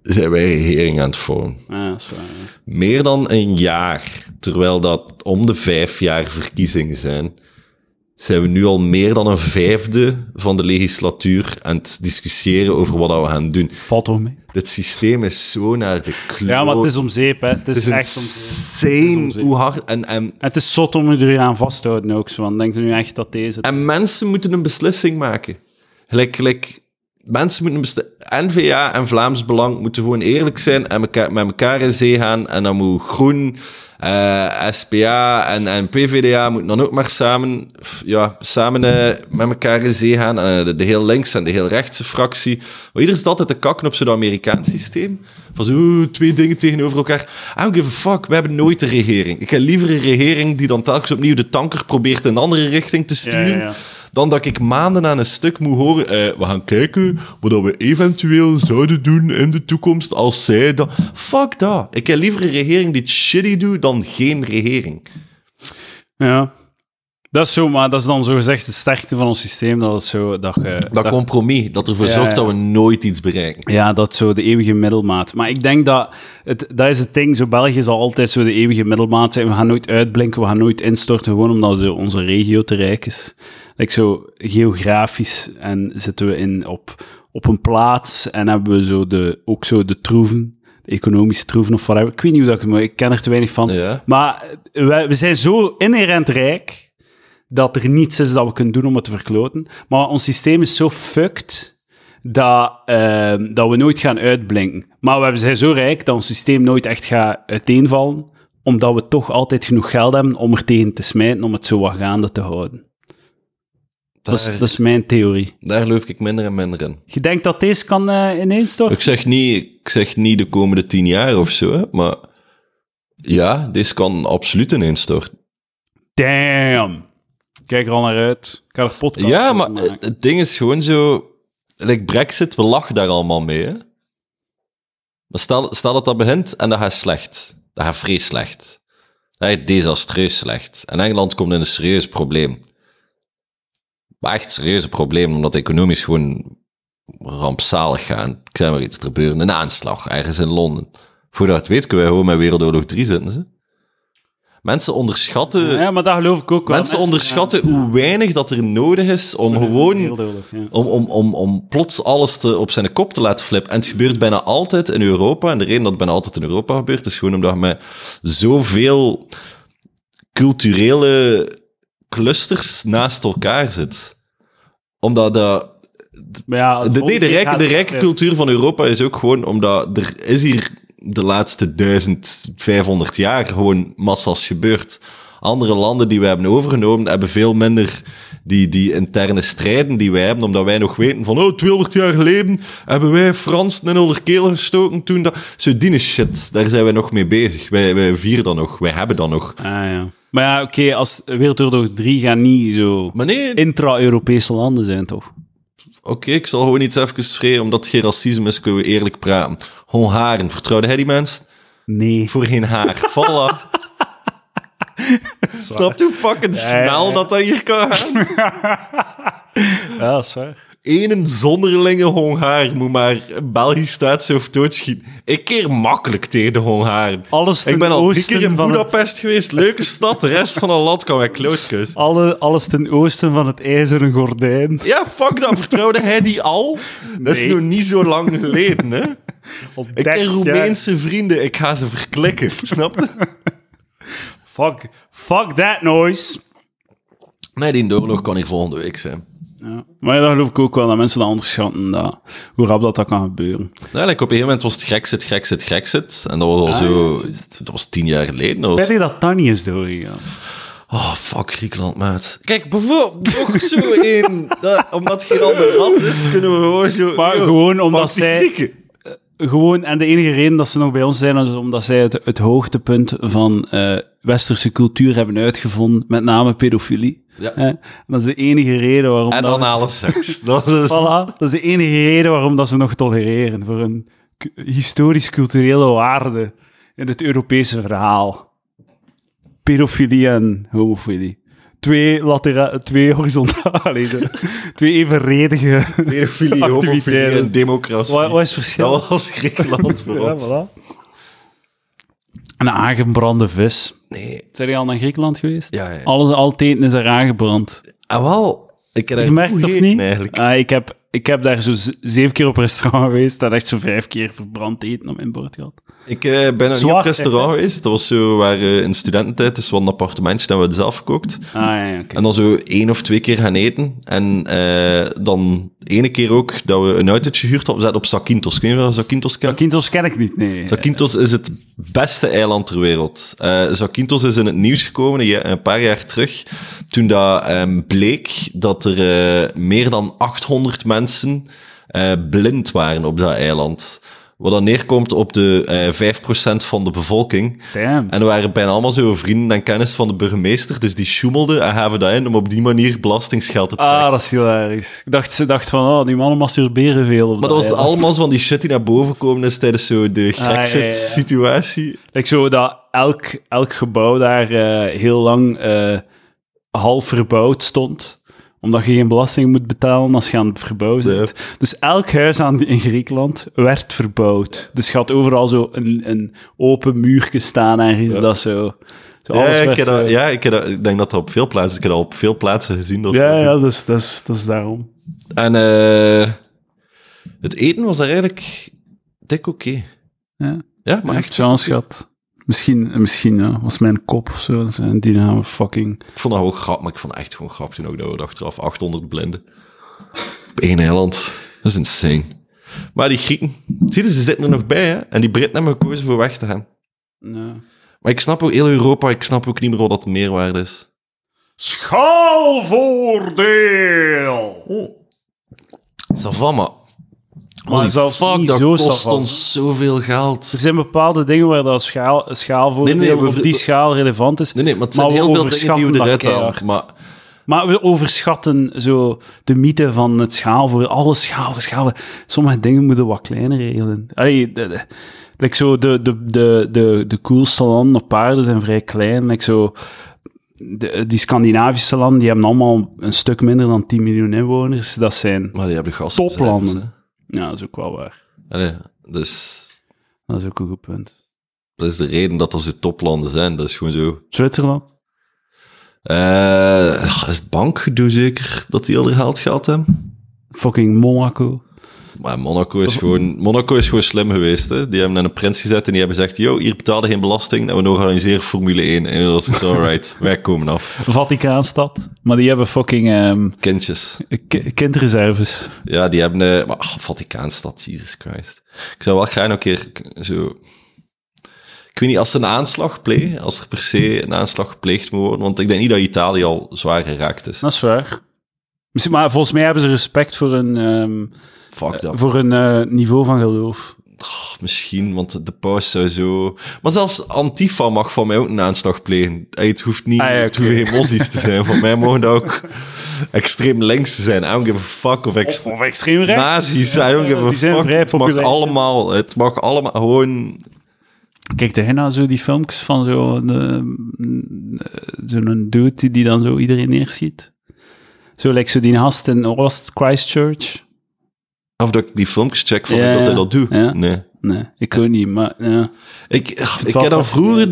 B: zijn wij regering aan het vormen.
A: Ah, dat is waar, ja.
B: Meer dan een jaar, terwijl dat om de vijf jaar verkiezingen zijn, zijn we nu al meer dan een vijfde van de legislatuur aan het discussiëren over wat dat we gaan doen.
A: Valt toch mee?
B: Dit systeem is zo naar de kloot.
A: Ja, maar het is om zeep, hè. Het is,
B: Het is
A: echt om zeep.
B: insane
A: zeep.
B: hoe hard... En, en,
A: En Het is zot om je er aan vast te houden ook. Zo. Want denkt u nu echt dat deze...
B: en mensen moeten een beslissing maken. Gelijk, gelijk mensen moeten beste- N-VA en Vlaams Belang moeten gewoon eerlijk zijn en meka- met elkaar in zee gaan. En dan moet Groen, eh, SPA en, en PVDA moeten dan ook maar samen, ja, samen eh, met elkaar in zee gaan. En eh, de, de heel links en de heel rechtse fractie. Maar ieder is altijd te kakken op zo'n Amerikaans systeem. Van zo, oeh, twee dingen tegenover elkaar. I don't give a fuck, we hebben nooit een regering. Ik heb liever een regering die dan telkens opnieuw de tanker probeert in een andere richting te sturen
A: Ja, ja, ja.
B: dan dat ik maanden aan een stuk moet horen. eh, we gaan kijken wat dat we eventueel zouden doen in de toekomst als zij dat. Fuck dat. Ik heb liever een regering die het shitty doet dan geen regering.
A: Ja. Dat is zo, maar dat is dan zogezegd de sterkte van ons systeem. Dat het zo, dat, je-
B: Dat, compromis dat ervoor
A: Ja,
B: zorgt
A: ja.
B: dat we nooit iets bereiken.
A: Ja, dat zo de eeuwige middelmaat. Maar ik denk dat, het, dat is het ding, zo België zal altijd zo de eeuwige middelmaat zijn. We gaan nooit uitblinken, we gaan nooit instorten, gewoon omdat zo onze regio te rijk is. Like zo geografisch en zitten we in, op, op een plaats en hebben we zo de, ook zo de troeven, de economische troeven of whatever. Ik weet niet hoe dat ik het moet, ik ken er te weinig van.
B: Ja.
A: Maar we, we zijn zo inherent rijk dat er niets is dat we kunnen doen om het te verkloten. Maar ons systeem is zo fucked dat, ehm, dat we nooit gaan uitblinken. Maar we hebben- zijn zo rijk dat ons systeem nooit echt gaat uiteenvallen, omdat we toch altijd genoeg geld hebben om er tegen te smijten, om het zo wat gaande te houden. Dat is,
B: Daar-
A: dat is mijn theorie.
B: Daar geloof ik minder en minder in.
A: Je denkt dat deze kan eh ineenstorten?
B: Ik zeg niet, ik zeg niet de komende tien jaar of zo, hè, maar ja, dit kan absoluut ineenstorten.
A: Damn! Kijk er al naar uit. Ik ga er podcast
B: Ja,
A: over
B: maar
A: maken.
B: het- het ding is gewoon zo... Like Brexit, we lachen daar allemaal mee, hè. Maar stel, stel dat dat begint en dat gaat slecht. Dat gaat vrees slecht. Dat gaat desastreus slecht. En Engeland komt in een serieus probleem. Maar echt serieus probleem, omdat economisch gewoon rampzalig gaan. Ik zeg maar iets, er gebeurt een aanslag ergens in Londen. Voordat het weet kunnen wij gewoon met Wereldoorlog 3 zitten. Ze. Mensen onderschatten...
A: Ja, maar dat geloof ik ook wel.
B: eh, Mensen onderschatten hoe weinig dat er nodig is om
A: Heel
B: gewoon
A: duidelijk, ja.
B: om, om, om, om plots alles te, op zijn kop te laten flippen. En het gebeurt bijna altijd in Europa. En de reden dat het bijna altijd in Europa gebeurt, is gewoon omdat je met zoveel culturele clusters naast elkaar zit. Omdat de,
A: Maar ja, het
B: de, nee, de,
A: volgende
B: rijke,
A: gaat-
B: de rijke
A: ja.
B: cultuur van Europa is ook gewoon omdat er is hier de laatste 1500 jaar gewoon massas gebeurd. Andere landen die we hebben overgenomen hebben veel minder die, die interne strijden die wij hebben, omdat wij nog weten van, oh, 200 jaar geleden hebben wij Fransen in hun keel gestoken toen dat... Zo die shit, daar zijn wij nog mee bezig. Wij, wij vieren dat nog, wij hebben dat nog.
A: Ah, ja. Maar ja, oké, als Wereldoorlog 3 gaat niet zo
B: Maar nee,
A: intra-Europese landen zijn, toch?
B: Oké, ik zal gewoon iets even schreeuwen, omdat het geen racisme is, kunnen we eerlijk praten. Hongaren, vertrouwde hij die mensen?
A: Nee.
B: voor geen haar. Voilà. Snap je hoe fucking snel dat dat hier kan gaan?
A: Ja, dat is waar.
B: Eén zonderlinge Hongaar moet maar Belgisch staats of doodschieten. Ik keer makkelijk tegen de Hongaren.
A: Alles ten
B: Ik ben al drie
A: oosten
B: keer in
A: van het-
B: Budapest geweest. Leuke stad. De rest van het land kan wij klootkus.
A: Alle, alles ten oosten van het ijzeren gordijn.
B: Ja, fuck dat. Vertrouwde hij die al? Dat is
A: Nee.
B: nog niet zo lang geleden, hè?
A: Op
B: Ik
A: dertig
B: ken
A: jaar.
B: Roemeense vrienden. Ik ga ze verklikken. Snap je?
A: Fuck, fuck that noise.
B: Nee, die oorlog kan hier volgende week zijn.
A: Maar ja, dat geloof ik ook wel, dat mensen dat onderschatten, dat, hoe rap dat, dat kan gebeuren.
B: Ja, Nou, like, op een gegeven moment was het Grexit, Grexit, Grexit. En dat was al zo... dat was tien jaar geleden. Dat was-
A: Weet je dat dat niet is doorgegaan?
B: Oh, fuck Griekenland, maat. Kijk, bijvoorbeeld ook zo in... dat- omdat het geen ander ras is, kunnen we gewoon zo...
A: Maar
B: Yo,
A: gewoon
B: fuck
A: omdat
B: die
A: zij...
B: Grieken.
A: Gewoon, en de enige reden dat ze nog bij ons zijn, is omdat zij het, het hoogtepunt van eh, westerse cultuur hebben uitgevonden, met name pedofilie.
B: Ja.
A: Hè? En dat is de enige reden waarom...
B: En
A: dat
B: dan
A: we-
B: alle seks. Dat is...
A: Voilà, dat is de enige reden waarom dat ze nog tolereren, voor een k- historisch-culturele waarde in het Europese verhaal. Pedofilie en homofilie. Twee, latera- twee horizontale, zo. twee evenredige...
B: Pedofilie, homofilie
A: Activiteiten.
B: en democratie.
A: Wat, wat is het verschil?
B: Dat was Griekenland voor
A: Ja,
B: ons.
A: voilà. Een aangebrande vis.
B: Nee.
A: Zijn jullie al naar Griekenland geweest?
B: Ja, ja.
A: Alles, al het eten is er aangebrand.
B: En wel... Ik heb daar
A: Gemerkt
B: goed
A: of
B: gegeten
A: niet?
B: Eigenlijk.
A: Ah, ik heb ik heb daar zo z- zeven keer op restaurant geweest en echt zo vijf keer verbrand eten op mijn bord gehad.
B: Ik eh, ben nog niet
A: Zwaar,
B: op het restaurant
A: echt,
B: geweest. Dat was zo waar eh, in studententijd, dus wel een appartementje dat we het zelf gekookt.
A: Ah ja, ja, oké.
B: En dan zo één of twee keer gaan eten. En eh, dan ene keer ook dat we een autootje gehuurd hadden. We zaten op Sakintos. Kun je wel Sakintos kennen?
A: Kintos ken ik niet, nee.
B: Zakynthos is het beste eiland ter wereld. Eh Zakynthos is in het nieuws gekomen een ja- een paar jaar terug, toen dat, ehm, bleek dat er eh, meer dan 800 mensen eh, blind waren op dat eiland. Wat dan neerkomt op de eh 5% van de bevolking.
A: Damn.
B: En er waren bijna allemaal zo vrienden en kennis van de burgemeester, dus die sjoemelden en gaven dat in om op die manier belastingsgeld te trekken.
A: Ah, dat is hilarisch. Ik dacht, ze dacht van, oh, die mannen masturberen veel. Op
B: maar dat was
A: eiland.
B: allemaal zo van die shit die naar boven komen is tijdens zo de
A: Ah, ja, ja, ja.
B: Grexit-situatie.
A: Like zo dat elk, elk gebouw daar eh, heel lang eh, half verbouwd stond. Omdat je geen belasting moet betalen als je aan het verbouwen bent. Dus elk huis aan, in Griekenland werd verbouwd. Dus je had overal zo een, een open muurtje staan ergens. Dat zo. zo alles
B: Ja, ik,
A: werd
B: heb
A: zo-
B: dat, ja ik, heb dat- ik denk dat dat op veel plaatsen, ik heb dat op veel plaatsen gezien. Dat
A: ja,
B: dat-
A: ja, dus, dat, is, dat is daarom.
B: En eh, het eten was daar eigenlijk dik oké.
A: Ja.
B: Ja, maar
A: Maar
B: echt,
A: echt chance gehad. Misschien, misschien ja, was mijn kop of zo. En die namen fucking.
B: ik vond dat gewoon grap, maar ik vond het echt gewoon grap toen ook dat we achteraf 800 blinden. Op één eiland. Dat is insane. Maar die Grieken, zie je, ze zitten er nog bij, hè? En die Britten hebben gekozen voor weg te gaan.
A: Ja.
B: Maar ik snap ook heel Europa, ik snap ook niet meer wat dat de meerwaarde is.
A: Schaalvoordeel!
B: Savama.
A: Maar
B: Oh. Holy
A: zelfs
B: fuck,
A: niet
B: dat
A: zo
B: kost
A: savant.
B: ons zoveel geld.
A: Er zijn bepaalde dingen waar dat schaal, schaalvoordeel
B: Nee, nee, we-
A: op die schaal relevant is.
B: Nee, nee, maar het zijn
A: Maar we
B: heel veel dingen
A: overschatten
B: die we
A: dat
B: eruit
A: keihard.
B: halen. Maar
A: Maar we overschatten zo de mythe van het schaalvoordeel. Alle schaal, schaal. Sommige dingen moeten wat kleiner regelen. Allee, de, de, like zo de, de, de, de, de coolste landen op paarden zijn vrij klein. Like zo, de, die Scandinavische landen die hebben allemaal een stuk minder dan 10 miljoen inwoners. Dat zijn
B: Maar die hebben gasten.
A: toplanden. Ja, dat is ook wel waar.
B: dus
A: Dat is ook een goed punt.
B: dat is de reden dat er zo toplanden zijn. Dat is gewoon zo.
A: Zwitserland?
B: Eh, ach, is het bankgedoe zeker dat die al haar geld gehad hebben?
A: Fucking Monaco.
B: Maar Monaco is, gewoon, Monaco is gewoon slim geweest. Hè? Die hebben naar een prins gezet en die hebben gezegd: Yo, hier betaalde geen belasting en we organiseren Formule 1. En dat is alright, wij komen af.
A: Vaticaanstad. Maar die hebben fucking ehm,
B: Kindjes.
A: ki- kindreserves.
B: Ja, die hebben... eh, maar, ah, Vaticaanstad, Jesus Christ. Ik zou wel graag nog een keer k- zo... Ik weet niet, als ze een aanslag plegen, als er per se een aanslag gepleegd moet worden, want ik denk niet dat Italië al zwaar geraakt is.
A: Dat is waar. Misschien- Maar volgens mij hebben ze respect voor hun, ehm,
B: Fuck dat.
A: voor hun eh, niveau van geloof.
B: Pff, misschien, want de paus zou zo... Maar zelfs Antifa mag van mij ook een aanslag plegen. Hey, het hoeft niet...
A: Ah, ja,
B: Het hoeven
A: oké.
B: geen mossies te zijn. Van mij mogen dat ook extreem links zijn. I don't give a fuck of extreem...
A: Of extreem
B: Nazi's, I don't give a
A: Die zijn
B: fuck.
A: vrij
B: Het mag
A: populair.
B: allemaal, het mag allemaal gewoon...
A: Kijk, tegen nou zo die filmpjes van zo'n eh, zo'n dude die, die dan zo iedereen neerschiet. Zo lijkt zo die gast in Oost Christchurch.
B: Of dat ik die filmpjes check van
A: Ja,
B: hem dat hij
A: ja.
B: dat doet.
A: Ja.
B: Nee.
A: Nee, ik ook niet, maar ja.
B: Ik, ach, ik
A: wel
B: heb dat vroeger
A: fascinerend.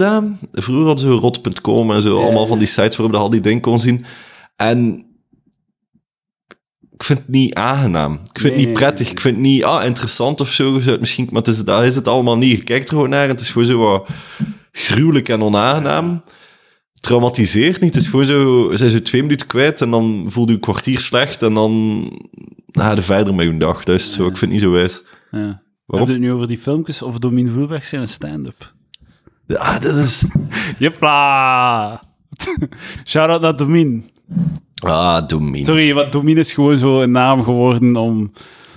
B: gedaan. Vroeger hadden ze rot.com en zo. Allemaal van die sites waarop je al die dingen kon zien. En ik vind het niet aangenaam. Ik vind
A: Nee,
B: het niet
A: nee,
B: prettig.
A: nee.
B: Ik vind het niet ah, interessant of zo. Je zou het Misschien, maar het is, daar is het allemaal niet. Je kijkt er gewoon naar. en Het is gewoon zo wat gruwelijk en onaangenaam. Traumatiseert niet. Het is gewoon zo... Zijn ze twee minuten kwijt en dan voelde je een kwartier slecht. En dan ah, ga je verder met je dag. Dat is zo. Ik vind het niet zo wijs.
A: ja. We hebben het nu over die filmpjes of Domien Vloerberg zijn een stand-up.
B: Ah, dat is...
A: Jepla! Shout-out naar Domien.
B: Ah, domine.
A: Sorry, want Domien is gewoon zo een naam geworden om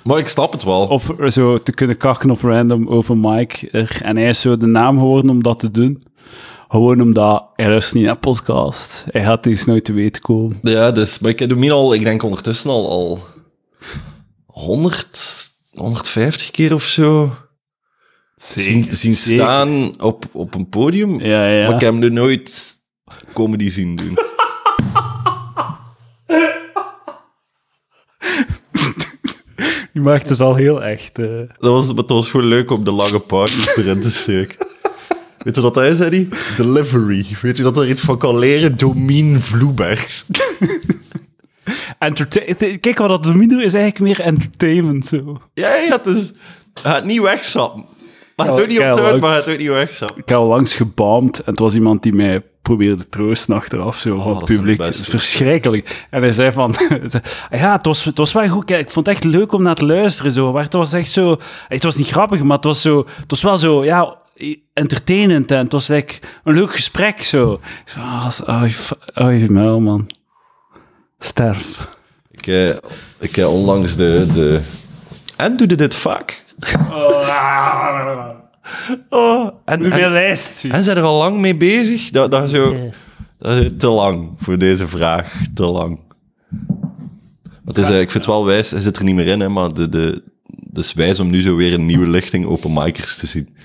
B: Maar ik snap het wel.
A: op, zo te kunnen kakken op random open mic. er. En hij is zo de naam geworden om dat te doen. Gewoon omdat hij luistert niet naar podcast. Hij gaat eens nooit te weten komen.
B: Ja, dus, maar ik heb hem al, ik denk ondertussen al, al 100, 150 keer of zo zien, zien
A: zeker.
B: staan op, op een podium.
A: Ja, ja.
B: Maar ik heb hem nu nooit comedy zien doen.
A: Die maakt het wel heel echt. eh.
B: dat, was, maar dat was gewoon leuk om de lange paardjes erin te steken. Weet je wat dat is, Eddie? Delivery. Weet je dat er iets van kan leren? Domien Vloebergs.
A: Entertain- Kijk, wat dat Domino is eigenlijk meer entertainment. Zo.
B: Ja, ja, het is... Gaat niet wegsappen. Maar het
A: Ja,
B: ook niet op
A: Oh, kei
B: tuin,
A: langs.
B: maar gaat ook niet wegsappen.
A: Ik had langs gebaamd en het was iemand die mij probeerde troosten achteraf, zo, van het
B: Oh, dat is
A: publiek.
B: het
A: Het
B: beste.
A: is verschrikkelijk. En hij zei van... ja, het was, het was wel goed. Kijk, ik vond het echt leuk om naar te luisteren, zo. Maar het was echt zo... Het was niet grappig, maar het was, zo, het was wel zo... Ja, entertainend en het was like, een leuk gesprek, zo. Ik zei, ah, als- oh, je f- oh, je muil, man. Sterf.
B: Ik, eh, ik eh, onlangs de, de... En doe je dit vaak? Oh, en, en,
A: Hoeveel lijst?
B: en zijn er al lang mee bezig? Dat, dat, is zo, dat is te lang voor deze vraag. Te lang. Maar Het is, eh, ik vind het wel wijs, hij zit er niet meer in, hè, maar de, de, het is wijs om nu zo weer een nieuwe lichting open micers te zien.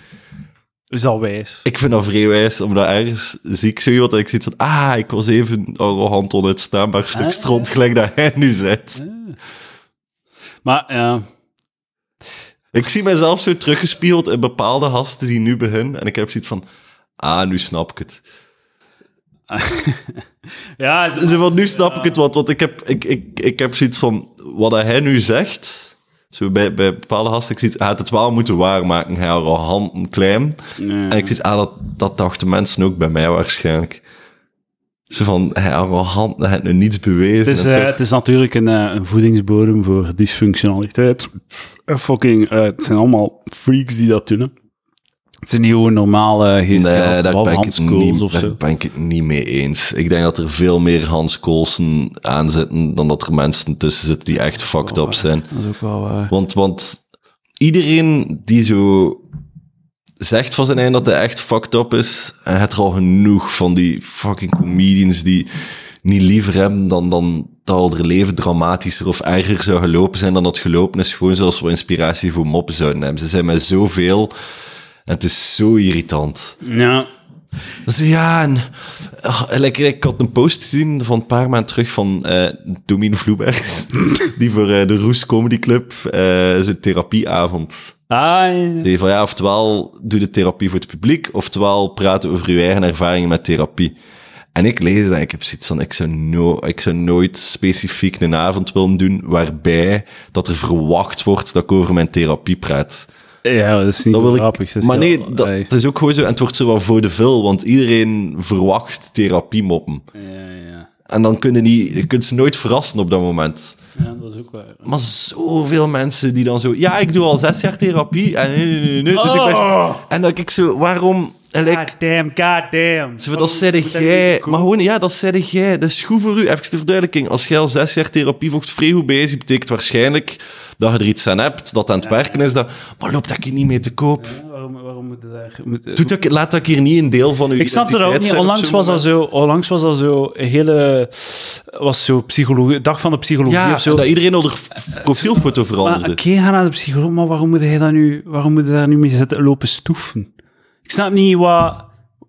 A: Is al wijs.
B: Ik vind dat vrij wijs, omdat ergens zie ik zo iemand dat ik zoiets van... Ah, ik was even een arrogant onuitstaanbaar stuk stront, gelijk dat hij nu zit.
A: Maar ja...
B: Ik zie mezelf zo teruggespiegeld in bepaalde gasten die nu beginnen. En ik heb zoiets van... Ah, nu snap ik het.
A: Ja, is-
B: Zo van, nu snap ik het, want, want ik, heb, ik, ik, ik heb zoiets van... Wat hij nu zegt... Zo bij, bij bepaalde gasten, ik zie het, hij had het wel moeten waarmaken. Hij arrogant en klein.
A: Nee.
B: En ik zie het, ah, dat, dat dachten mensen ook bij mij waarschijnlijk. Zo van, hij arrogant, hij heeft nu niets bewezen.
A: Het is,
B: en
A: eh,
B: toch-
A: het is natuurlijk een, eh, een voedingsbodem voor dysfunctionaliteit. Eh, Fucking, eh, het zijn allemaal freaks die dat doen. hè. Het zijn niet gewoon normale geestige
B: Nee,
A: gasten,
B: daar
A: behalve
B: ben, ik
A: Hans
B: het
A: Kools
B: niet,
A: of
B: daar
A: zo.
B: ben ik het niet mee eens. Ik denk dat er veel meer Hans Koolsen aan zitten dan dat er mensen tussen zitten die echt fucked
A: Oh,
B: up zijn.
A: Dat is ook wel eh, waar.
B: Want, want iedereen die zo zegt van zijn eind dat hij echt fucked up is, en het er al genoeg van die fucking comedians die niet liever hebben dan, dan dat al hun leven dramatischer of erger zou gelopen zijn dan dat gelopen is, gewoon zoals we inspiratie voor moppen zouden hebben. Ze zijn met zoveel en het is zo irritant.
A: Ja.
B: Dat is- ja, en, ah, like, ik had een post gezien van een paar maanden terug van eh Domien Vloebergs, die voor eh, de Roes Comedy Club eh, zo'n therapieavond
A: Ah, ja.
B: deed. Van, ja, oftewel doe de therapie voor het publiek, oftewel praten over je eigen ervaringen met therapie. En ik lees dat, ik heb zoiets van, ik zou, no ik zou nooit specifiek een avond willen doen waarbij dat er verwacht wordt dat ik over mijn therapie praat.
A: Ja, dat is niet
B: Dat wil ik-
A: grappig. dus dat is
B: maar
A: heel-
B: nee, dat,
A: Ey.
B: het is ook gewoon zo, en het wordt zo wat voor de vil, want iedereen verwacht therapiemoppen.
A: Ja, ja.
B: En dan kun je, niet, je kunt ze nooit verrassen op dat moment.
A: ja, dat is ook waar.
B: Maar zoveel mensen die dan zo... Ja, ik doe al zes jaar therapie. En, nee, nee, nee, nee, dus ik ben-
A: Oh.
B: en dan ik zo... Waarom... En like,
A: God damn, god damn.
B: zo van, dat zei jij... Maar gewoon, ja, dat zei jij. Dat is goed voor u. Even de verduidelijking. Als jij al zes jaar therapie volgt, vrij goed bezig, betekent waarschijnlijk dat je er iets aan hebt, dat het aan het werken is. Dat, maar loopt dat hier niet mee te koop?
A: Waarom, waarom moet het daar... moet-
B: Doet dat, laat dat hier niet een deel van uw
A: Ik snap dat ook
B: identiteit
A: niet.
B: zijn op
A: Onlangs
B: zo'n
A: was, dat
B: moment.
A: zo, onlangs was dat zo een hele... Was zo psychologie, dag van de psychologie
B: Ja,
A: of zo.
B: dat iedereen al de f- profielfoto
A: Maar
B: veranderde.
A: oké, ga naar de psycholoog, maar waarom moet hij, dat nu, waarom moet hij daar nu mee zitten lopen stoeven? Ik snap niet, wat,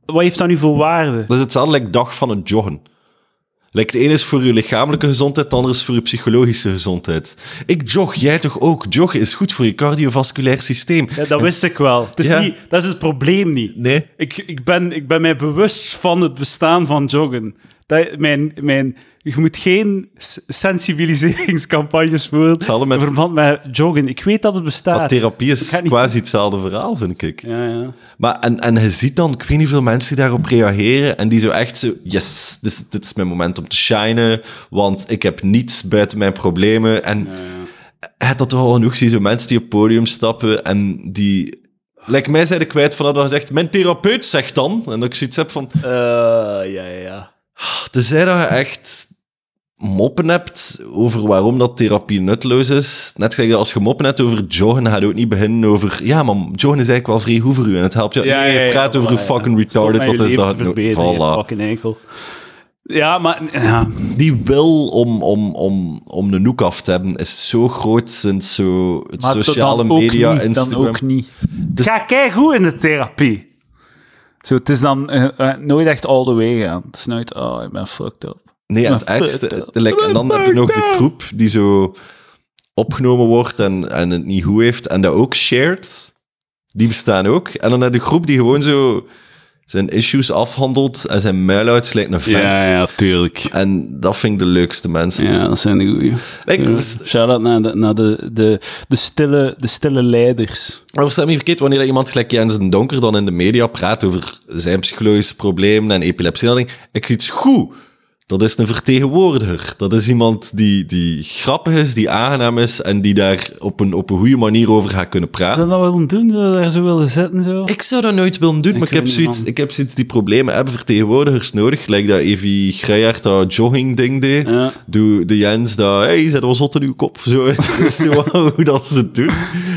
A: wat heeft dat nu voor waarde?
B: Dat is hetzelfde like dag van het joggen. Like, het ene is voor je lichamelijke gezondheid, het andere is voor je psychologische gezondheid. Ik jog, jij toch ook? Joggen is goed voor je cardiovasculair systeem.
A: Ja, dat wist ik wel. Het is
B: Ja.
A: niet, dat is het probleem niet.
B: Nee.
A: Ik, ik, ben, ik ben mij bewust van het bestaan van joggen. Dat, mijn, mijn, je moet geen s- sensibiliseringscampagnes
B: Hetzelfde
A: voeren
B: met-
A: in verband met joggen. Ik weet dat het bestaat.
B: Maar therapie
A: Ik
B: is
A: ga niet-
B: quasi hetzelfde verhaal, vind ik.
A: Ja, ja.
B: Maar, en, en je ziet dan, ik weet niet veel mensen die daarop reageren en die zo echt zo, yes, dit, is- dit is mijn moment om te shinen, want ik heb niets buiten mijn problemen. En je hebt dat toch al genoeg gezien, zo mensen die op het podium stappen en die... Lijkt mij zijn de kwijt van dat hij zegt, mijn therapeut zegt dan. En dat ik zoiets heb van,
A: ja, Eh, ja, ja.
B: Tenzij dat je echt moppen hebt over waarom dat therapie nutteloos is. Net gelijk dat als je moppen hebt over joggen, ga je ook niet beginnen over... Ja, maar joggen is eigenlijk wel vrij goed voor u en het helpt je. nee, je praat over
A: voilà,
B: een fucking
A: ja.
B: retarded,
A: Stop met
B: dat is
A: je
B: dat...
A: leven te verbeteren, je
B: Voilà.
A: fucking enkel. Ja, maar... Ja.
B: Die wil om, om, om, om de noek af te hebben is zo groot sinds zo het
A: Maar dat
B: sociale
A: dan ook
B: media,
A: niet,
B: Instagram.
A: Dan ook niet.
B: Dus-
A: Ga kijk goed in de therapie. Zo, het is dan eh, eh, nooit echt all the way gaan. Het is nooit, oh, ik ben fucked up.
B: Nee, en het
A: Maar
B: ergste...
A: fuck
B: eh, like, en dan heb je nog de groep die zo opgenomen wordt en, en het niet goed heeft en dat ook shared. Die bestaan ook. En dan heb je de groep die gewoon zo zijn issues afhandelt en zijn muil uitslijt een vent.
A: Ja, ja, tuurlijk.
B: En dat vind ik de leukste mensen.
A: Ja, dat zijn de goeie.
B: Ik-
A: Ja. Shout-out naar, de, naar de, de, de, stille, de stille leiders.
B: Maar versta me niet verkeerd, wanneer iemand gelijk Jens den Donker dan in de media praat over zijn psychologische problemen en epilepsie, dan denk ik, ik zie iets goed. Dat is een vertegenwoordiger. Dat is iemand die, die grappig is, die aangenaam is en die daar op een, op een goede manier over gaat kunnen praten.
A: Zou dat willen doen? Zou dat daar zo willen zitten? Zo?
B: Ik zou dat nooit willen doen, maar ik
A: weet
B: heb,
A: niet,
B: zoiets,
A: man.
B: ik heb zoiets, die problemen hebben vertegenwoordigers nodig. Gelijk dat Evie Grijaert dat jogging-ding deed.
A: Ja.
B: Doe de Jens dat, hé, hey, zet wel zot in uw kop. Zo, Het is zo hoe dat ze het doen.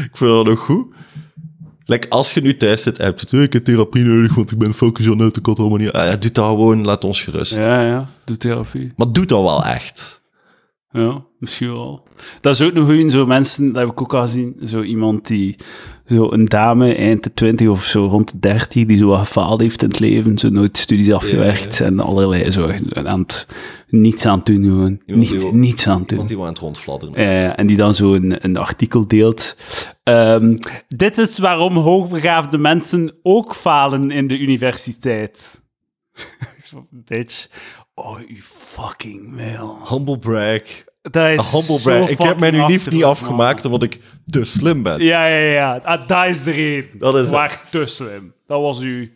B: Ik vind dat nog goed. Like, als je nu thuis zit en hebt, het, ik heb therapie nodig, want ik ben focus on uit, ik kan het allemaal niet. Ah, ja, doe dat gewoon, laat ons gerust.
A: Ja, ja. De therapie.
B: Maar doe dat wel echt.
A: Ja, misschien wel. Dat is ook nog goed, zo mensen, dat heb ik ook al gezien, zo iemand die, zo een dame eind de 20 of zo rond de 30, die zo wat gefaald heeft in het leven, zo nooit studies afgewerkt en allerlei zo echt aan het, niets aan het doen gewoon.
B: Iemand
A: Niet,
B: die-
A: niets aan het doen.
B: Want die waren aan het rondfladderen.
A: Eh, en die dan zo een, een artikel deelt. Ehm, dit is waarom hoogbegaafde mensen ook falen in de universiteit. Zo, Bitch. Oh, u fucking mail.
B: Humble brag.
A: Dat is
B: Humble
A: zo
B: brag. Ik heb mijn
A: fucking
B: unief
A: achterlijk,
B: niet
A: man.
B: afgemaakt omdat ik te slim ben.
A: Ja, ja, ja. Ah, dat is de reden.
B: Dat is het.
A: Waar tussen hem. Dat was u.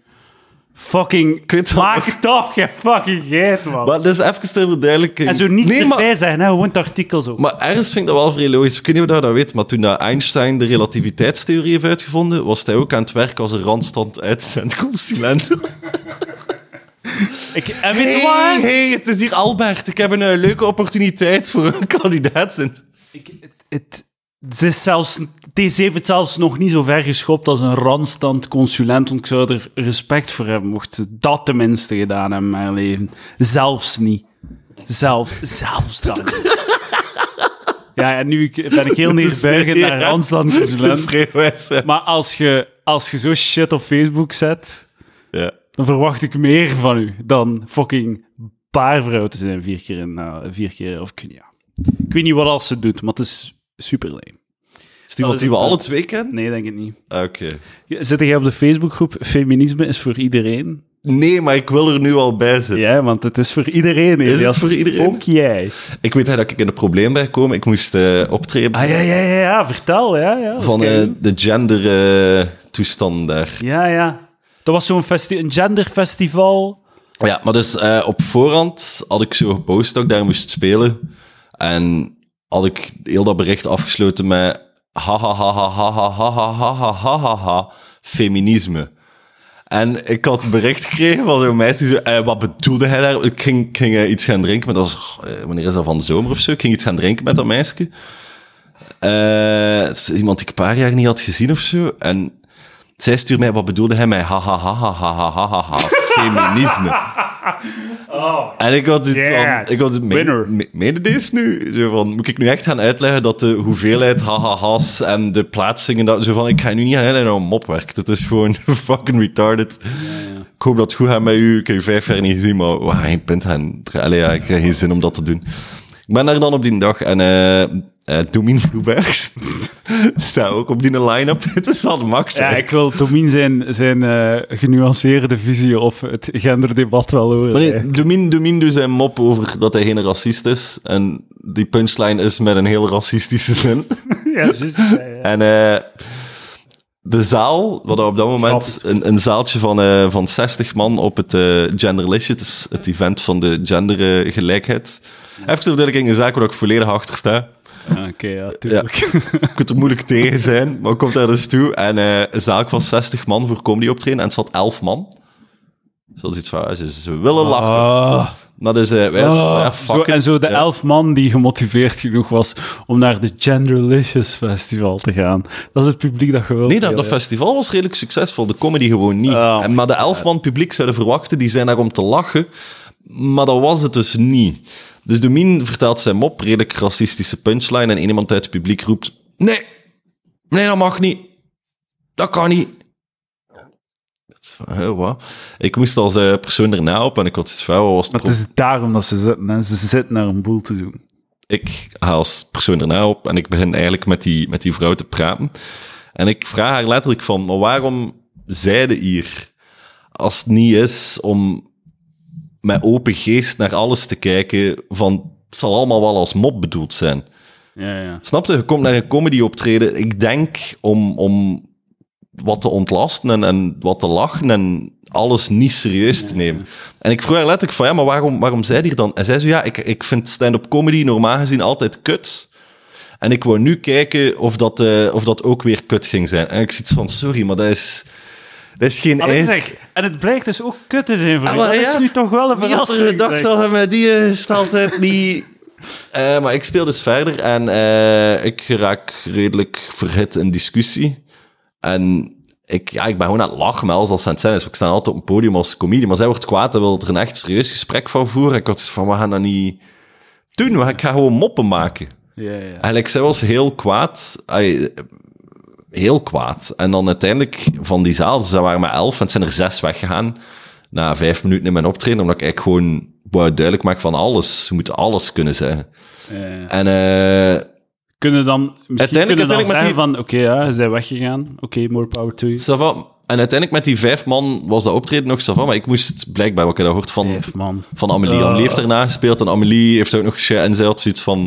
A: Fucking.
B: Kut.
A: Maak het af, je fucking geit, man.
B: Maar dat is even ter verduidelijking.
A: en zo niet
B: nee,
A: erbij
B: maar,
A: zijn, hè? gewoon het artikel zo.
B: maar ergens vind ik dat wel vrij logisch. Ik weet niet of je dat weet, maar toen dat Einstein de relativiteitstheorie heeft uitgevonden, was hij ook aan het werk als een randstand uitzendconsulent.
A: ik, en weet je
B: Hé,
A: waar?
B: hey, het is hier Albert. Ik heb een eh, leuke opportuniteit voor een kandidaat. En-
A: Ik, het, het, ze is zelfs, TC heeft het zelfs nog niet zo ver geschopt als een randstand consulent, want ik zou er respect voor hebben, mocht ze dat tenminste gedaan hebben in mijn leven. Zelfs niet. Zelf, zelfs dat niet. Ja, en nu ik- ben ik heel neerbuigend naar
B: Ja.
A: randstand
B: Het is
A: consulent.
B: vrij wijs, hè.
A: Maar als je, als je zo shit op Facebook zet,
B: Ja.
A: dan verwacht ik meer van u dan fucking paarvrouw te zijn vier keer in, eh, vier keer, of ik weet niet, ja. Ik weet niet wat als ze doet, maar het is super lame.
B: Is het iemand
A: is
B: die we
A: het,
B: alle
A: eh,
B: twee kennen?
A: Nee, denk ik niet.
B: Ah, Oké.
A: Zit jij op de Facebookgroep Feminisme is voor iedereen?
B: Nee, maar ik wil er nu al bij zitten.
A: Ja, want het is voor iedereen. hè.
B: Is het
A: Als-
B: voor iedereen?
A: Ook jij.
B: Ik weet hè, dat ik in een probleem ben gekomen. Ik moest eh, optreden
A: Ah ja, ja, ja, ja, vertel. Ja, ja, dat is
B: van eh,
A: keigoed.
B: de gender-toestand daar.
A: ja, ja. Dat was zo'n festi- een genderfestival.
B: Ja, maar dus eh, op voorhand had ik zo gepost dat ik daar moest spelen. En had ik heel dat bericht afgesloten met ha ha ha ha ha ha ha ha ha ha ha ha ha feminisme. En ik had een bericht gekregen van zo'n meisje die zo, eh, wat bedoelde hij daar? Ik ging, ik ging eh, iets gaan drinken, maar dat was, eh, wanneer is dat, van de zomer of zo? Ik ging iets gaan drinken met dat meisje. Eh, het is iemand die ik een paar jaar niet had gezien of zo. En zij stuurt mij, wat bedoelde hij mij? Ha ha ha ha ha ha ha ha, ha feminisme. En ik had het
A: Oh. Yeah.
B: van, ik had het me-
A: Winner.
B: me- meen deze nu? Zo van, moet ik nu echt gaan uitleggen dat de hoeveelheid hahaha's en de plaatsingen, dat, zo van, ik ga nu niet gaan uitleggen hoe een mop werkt. Het is gewoon fucking retarded. Ik hoop dat het goed gaat met u. Ik heb u vijf jaar niet gezien, maar waar je bent gaan. dra- Allee, ja, ik heb geen zin om dat te doen. Ik ben daar dan op die dag en eh eh Doemien Vloebergs staat ook op die line-up. het is wel max.
A: Ja,
B: hè.
A: ik wil Tomien zijn, zijn eh, genuanceerde visie of het genderdebat wel horen.
B: Maar
A: hè.
B: nee, Domin, Domin doet zijn mop over dat hij geen racist is. En die punchline is met een heel racistische zin.
A: Ja, juist. ja, ja.
B: en eh, de zaal, wat op dat moment
A: Grappig.
B: een, een zaaltje van, eh, van 60 man op het eh Genderlicious, het is het event van de gendergelijkheid. Even de verduidelijking, een zaak waar ik volledig achter sta.
A: Oké, ja, tuurlijk.
B: Je kunt er moeilijk tegen zijn, maar komt daar dus toe. En eh, een zaak van 60 man voor comedy optreden en het zat 11 man. Dus dat is iets waar ze, ze willen lachen.
A: Ah.
B: Maar dus, eh, wij hadden- ja, fuck
A: zo,
B: it.
A: en zo de
B: Ja.
A: elf man die gemotiveerd genoeg was om naar de Genderlicious Festival te gaan. Dat is het publiek dat je wilt.
B: Nee, dat, dat
A: Jelle.
B: festival was redelijk succesvol. De comedy gewoon niet.
A: Oh
B: en, maar de elf man publiek zouden verwachten, die zijn daar om te lachen. Maar dat was het dus niet. Dus Domien vertelt zijn mop, redelijk racistische punchline. En één iemand uit het publiek roept... Nee, nee, dat mag niet. Dat kan niet. Dat is van, hè, wat? Ik moest als eh, persoon erna op en ik had iets van, wat was het
A: Maar het is daarom dat ze zitten. Hè. Ze zitten naar een boel te doen.
B: ik haal als persoon daarna op en ik begin eigenlijk met die, met die vrouw te praten. En ik vraag haar letterlijk van, maar waarom zijde hier? als het niet is om met open geest naar alles te kijken van het zal allemaal wel als mop bedoeld zijn.
A: Ja, ja.
B: Snap je? Je komt naar een comedy optreden, ik denk om, om wat te ontlasten en, en wat te lachen en alles niet serieus te nemen. En ik vroeg haar letterlijk van, ja, maar waarom, waarom zij hier dan? En zij zo, ja, ik, ik vind stand-up comedy normaal gezien altijd kut. En ik wou nu kijken of dat, eh, of dat ook weer kut ging zijn. En ik zoiets van, sorry, maar dat is, dat is geen
A: Allee,
B: ijs-
A: zeg, en het blijkt dus ook kut te zijn voor
B: Ah,
A: u.
B: maar
A: Dat is
B: ja.
A: nu toch wel een
B: Wie had er
A: verrassing. zeg.
B: gedacht dat hij met die eh, is het altijd niet... Eh, maar ik speel dus verder en eh, ik raak redelijk verhit in discussie. En ik, ja, ik ben gewoon aan het lachen met alles als het aan het zijn is. Ik sta altijd op een podium als comedie, maar zij wordt kwaad en wil er een echt serieus gesprek van voeren. Ik had zoiets van, we gaan dat niet doen, we gaan- ik ga gewoon moppen maken.
A: Ja, ja.
B: Eigenlijk, zij was heel kwaad. Ai, heel kwaad. En dan uiteindelijk van die zaal, ze waren maar elf en het zijn er zes weggegaan. Na vijf minuten in mijn optreden, omdat ik eigenlijk gewoon wou duidelijk maken van alles. Ze moeten alles kunnen zeggen.
A: ja.
B: En eh,
A: Kunnen dan misschien
B: Uiteindelijk-
A: kunnen dan
B: uiteindelijk met
A: zeggen
B: die-
A: van, oké, ja, ze zijn weggegaan. Oké, more power to you.
B: ça va. En uiteindelijk met die vijf man was dat optreden nog zo van, maar ik moest blijkbaar, wat ik dat hoort van,
A: Vijf man.
B: van Amelie.
A: Ah.
B: Amelie heeft daarna gespeeld en Amelie heeft ook nog gesche- en zij had zoiets van,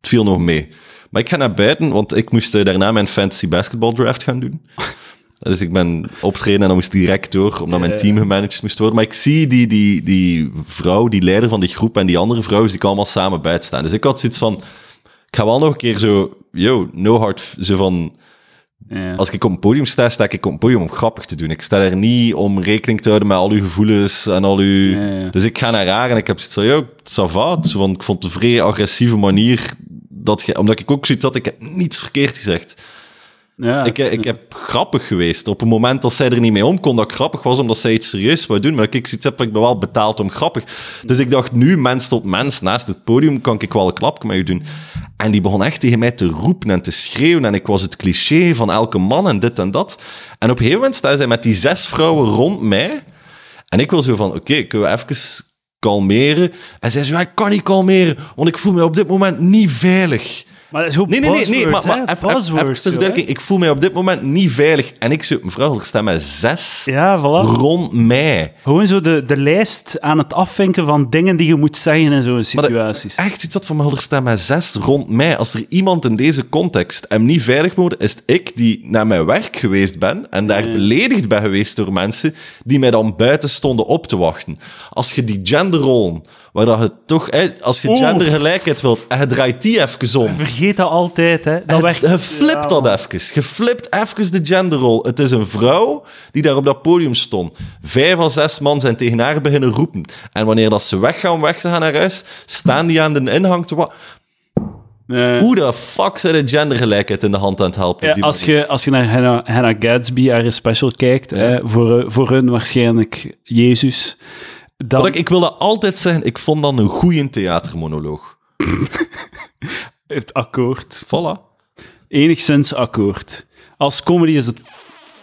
B: het viel nog mee. Maar ik ga naar buiten, want ik moest eh, daarna mijn fantasy basketball draft gaan doen. Dus ik ben opgetreden en dan moest direct door, omdat mijn team gemanaged moest worden. Maar ik zie die, die, die vrouw, die leider van die groep en die andere vrouw, zie ik allemaal samen buiten staan. Dus ik had zoiets van, ik ga wel nog een keer zo, yo, no hard, f- zo van,
A: Ja.
B: als ik op een podium sta, sta ik op een podium om grappig te doen. Ik sta er niet om rekening te houden met al uw gevoelens en al uw...
A: Ja, ja.
B: Dus ik ga naar haar en ik heb zoiets van, yo, ça va. Zo van, ik vond het een vrij agressieve manier, dat je, omdat ik ook zoiets had, ik heb niets verkeerd gezegd.
A: Ja.
B: Ik, eh, ik heb grappig geweest. Op het moment dat zij er niet mee om kon, dat ik grappig was, omdat zij iets serieus wou doen. Maar dat ik zoiets heb, van, ik ben wel betaald om grappig. Dus ik dacht, nu, mens tot mens, naast het podium, kan ik wel een klapje met u doen. En die begon echt tegen mij te roepen en te schreeuwen. En ik was het cliché van elke man en dit en dat. En op een gegeven moment staan zij met die zes vrouwen rond mij. En ik wil zo van, oké, kunnen we even kalmeren? En zij zo, ja, ik kan niet kalmeren, want ik voel me op dit moment niet veilig.
A: maar dat is ook
B: Nee, nee, nee, nee,
A: buzzword,
B: maar, maar
A: hè?
B: even, even- even
A: Buzzword,
B: ter
A: zo, hè?
B: verduidelijking. Ik voel mij op dit moment niet veilig. En ik zoek, mevrouw, er staan maar zes
A: Ja, voilà.
B: rond mij.
A: Gewoon zo de, de lijst aan het afvinken van dingen die je moet zeggen in zo'n situaties.
B: Echt iets dat van, mevrouw, er staan maar zes rond mij. Als er iemand in deze context hem niet veilig moet, is het ik die naar mijn werk geweest ben en daar beledigd ben geweest door mensen die mij dan buiten stonden op te wachten. Als je die genderrollen, waar dat je toch, eh, als je
A: Oeh.
B: gendergelijkheid wilt, en je draait die even om.
A: Vergeet dat altijd, hè. Dat werkt...
B: Je flipt dat even. Je flipt even de genderrol. Het is een vrouw die daar op dat podium stond. Vijf à zes man zijn tegen haar beginnen roepen. En wanneer dat ze weggaan om weg te gaan naar huis, staan die aan de inhang te wa-
A: Eh,
B: Hoe de fuck zijn de gendergelijkheid in de hand aan het helpen? op
A: ja,
B: die
A: als,
B: manier?
A: je, als je naar Hannah, Hannah Gadsby, haar special, kijkt, hè, voor, eh, voor hun waarschijnlijk Jezus, dan...
B: Wat ik, ik wil dat altijd zeggen, ik vond dan een goede theatermonoloog.
A: Het akkoord.
B: Voilà.
A: Enigszins akkoord. Als comedy is het